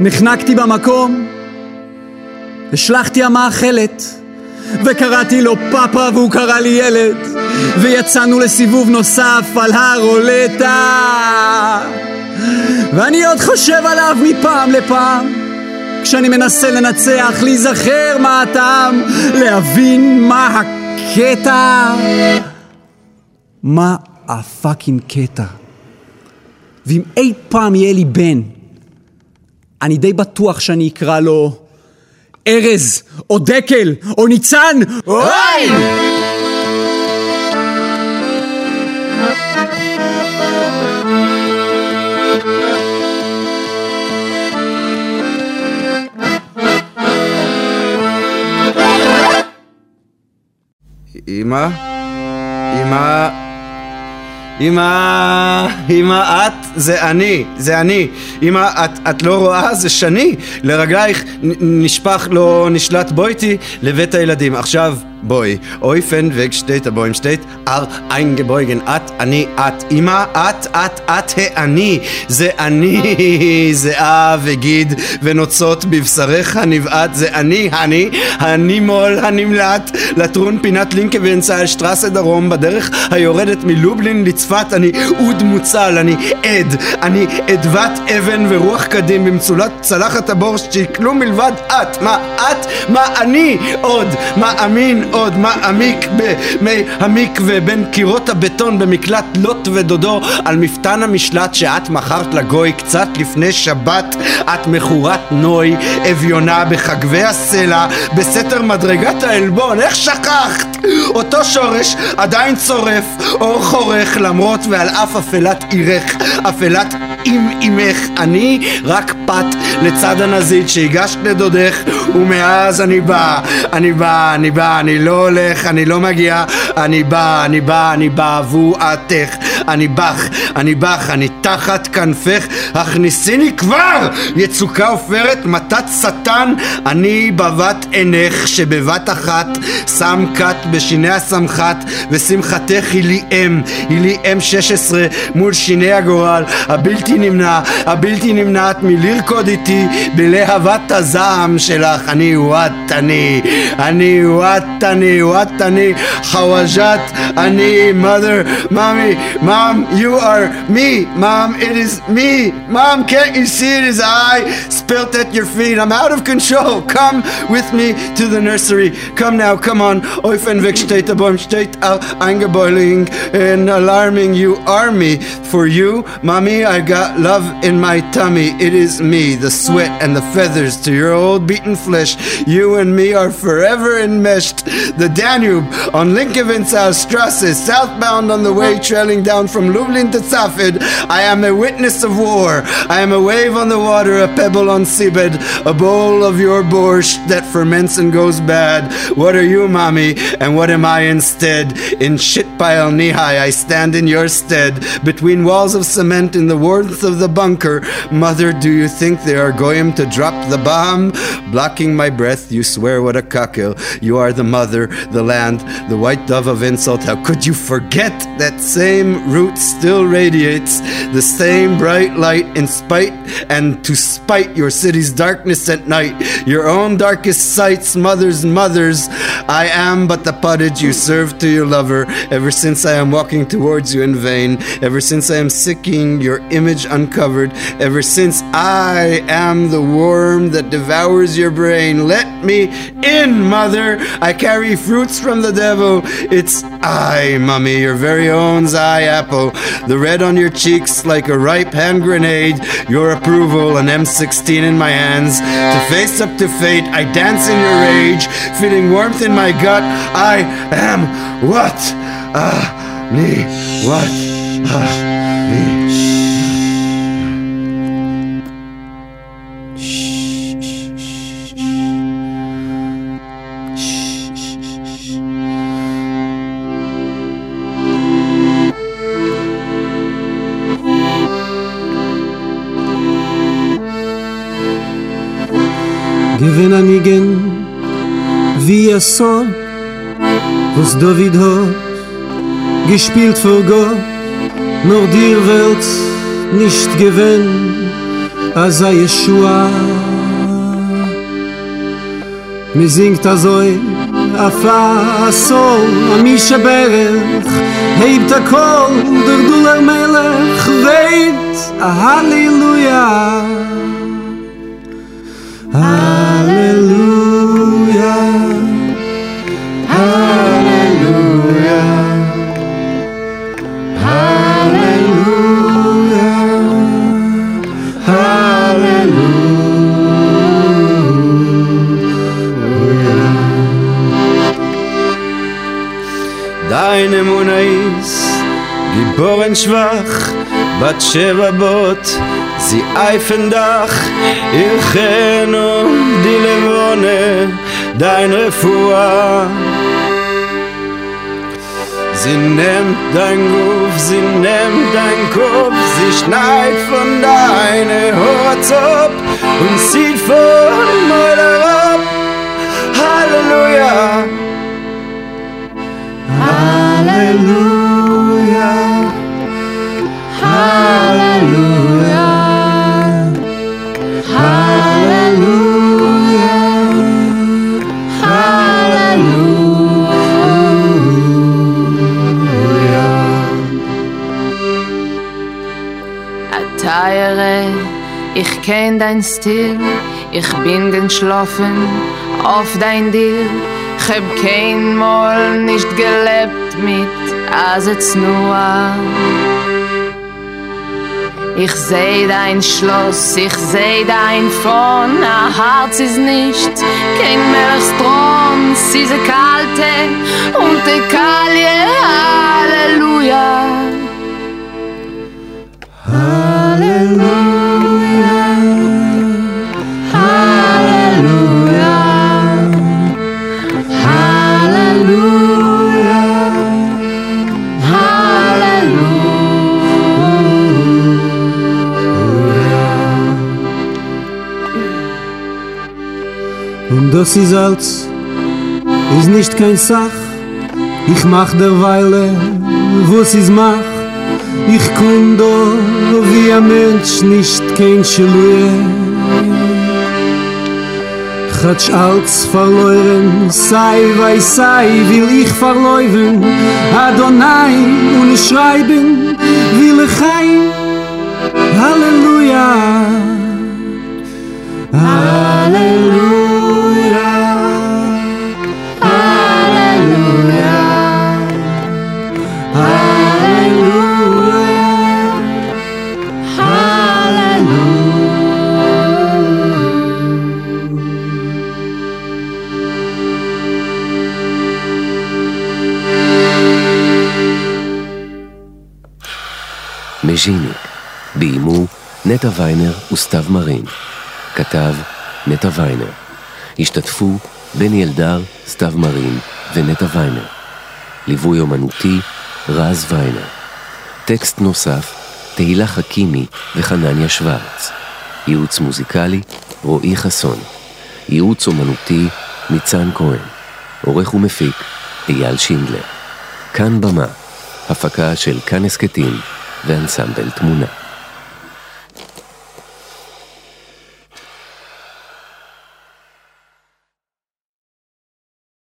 [SPEAKER 11] נחנקתי במקום, השלכתי המאכלת, וקראתי לו פאפה והוא קרא לי ילד, ויצאנו לסיבוב נוסף על הרולטה. ואני עוד חושב עליו מפעם לפעם, כשאני מנסה לנצח, להיזכר מה הטעם, להבין מה הקטע. מה הפאקינג קטע? ואם אי פעם יהיה לי בן, אני די בטוח שאני אקרא לו ארז, או דקל, או ניצן, אוי!
[SPEAKER 4] אמא? אמא? אמא, אמא, את, זה אני, זה אני. אמא, את, את לא רואה, זה שני. לרגלייך נ- נשפך, לא נשלט בויטי לבית הילדים. עכשיו,
[SPEAKER 10] בואי, אויפן וגשטייט הבוים שטייט, אר איינגבויגן את, אני, את, אמא, את, את, את, האני, זה אני, זהה וגיד, ונוצות בבשרך הנבעט, זה אני, אני, הנימול הנמלט, לטרון פינת לינקבן צהל שטרסה דרום, בדרך היורדת מלובלין לצפת, אני אוד מוצל, אני עד, אני עדבת אבן ורוח קדים במצולת צלחת הבור שכלום מלבד את, מה את, מה אני עוד, מה אמין עוד, מה עמיק במי המקווה בין קירות הבטון במקלט לוט ודודו על מפתן המשלט שאת מכרת לגוי קצת לפני שבת את מכורת נוי אביונה בחגבי הסלע בסתר מדרגת העלבון איך שכחת? אותו שורש עדיין צורף אור חורך למרות ועל אף אפלת עירך אפלת אם אימך אני רק פת לצד הנזית שהגשת לדודך ומאז אני בא אני בא אני בא אני לא הולך אני לא מגיע אני בא אני בא אני בא עבועתך אני בך אני בך אני תחת כנפך הכניסיני כבר יצוקה עופרת מתת שטן אני בבת עינך שבבת אחת שם כת בשיני הסמחת ושמחתך היא לי אם היא לי אם 16 מול שיני הגורל הבלתי נמנע, הבלתי נמנעת מלרקוד איתי בלהבת הזעם שלך. אני וואט אני, אני וואט אני, וואט אני, חוואג'ת אני, mother, mommy, mom, you are me, mom, it is me, mom, can't you see it is I, spilt at your feet, I'm out of control, come with me to the nursery, come now, come on, Eufen wegsteht, aber im steht eingeboiling and alarming, you are me, for you, mommy, I got got love in my tummy. It is me, the sweat and the feathers to your old beaten flesh. You and me are forever enmeshed. The Danube on Linkovinzalstrasse, southbound on the way trailing down from Lublin to Safed. I am a witness of war. I am a wave on the water, a pebble on seabed, a bowl of your borscht that ferments and goes bad. What are you, mommy? And what am I instead? In shitpile knee high, I stand in your stead. Between walls of cement in the ward of the bunker. Mother, do you think they are going to drop the bomb? Blocking my breath, you swear what a cockle. You are the mother, the land, the white dove of insult. How could you forget that same root still radiates the same bright light in spite and to spite your city's darkness at night, your own darkest sights, mothers, mothers. I am but the pottage you serve to your lover. Ever since I am walking towards you in vain, ever since I am seeking your image uncovered ever since I am the worm that devours your brain. Let me in, mother. I carry fruits from the devil. It's I, mummy, your very own eye apple. The red on your cheeks like a ripe hand grenade. Your approval, an M16 in my hands. To face up to fate, I dance in your rage, feeling warmth in my gut. I am what? Ah, me, what? Ah, me.
[SPEAKER 3] Gewinnanigen via Song, was David hat, gespielt vor Gott, nur dir wird nicht gewinn, als sei Yeshua. Mi singt azoi, a fa sol, a mi shaberach, hebt a kol, der du der melech, weit, a hallelujah. Alleluia, Alleluia, Alleluia, Alleluia.
[SPEAKER 10] Deine Monais, geboren schwach, בת שבע בוט, זי אייפן דך, אירכנו די לבונה, דיין רפואה. Sie nimmt dein Ruf, sie nimmt dein Kopf, sie schneit von deine Horz ab und zieht von Meuler ab. Halleluja,
[SPEAKER 5] Ich kenn dein Stil, ich bin geschlafen auf dein Dir. Ich hab kein Mal nicht gelebt mit Asetz Noah. Ich seh dein Schloss, ich seh dein Fon, a Herz ist nicht kein Melchstron, sie ist kalte und die Kalje, Halleluja.
[SPEAKER 3] Und das ist Salz, ist nicht kein Sach. Ich mach der Weile, was ich mach. Ich komm da wie ein Mensch, nicht kein Schlue. Ich hat Schalz verloren, sei wei sei, will ich verleuven. Adonai, und ich schreiben, will ich heim. Halleluja. Halleluja.
[SPEAKER 1] מז'יניק, ביימו נטע ויינר וסתיו מרין. כתב נטע ויינר. השתתפו בני אלדר, סתיו מרין ונטע ויינר. ליווי אומנותי, רז ויינר. טקסט נוסף, תהילה חכימי וחנניה שוורץ. ייעוץ מוזיקלי, רועי חסון. ייעוץ אומנותי, ניצן כהן. עורך ומפיק, אייל שינדלר. כאן במה, הפקה של כאן הסכתים. ואנסמבל תמונה.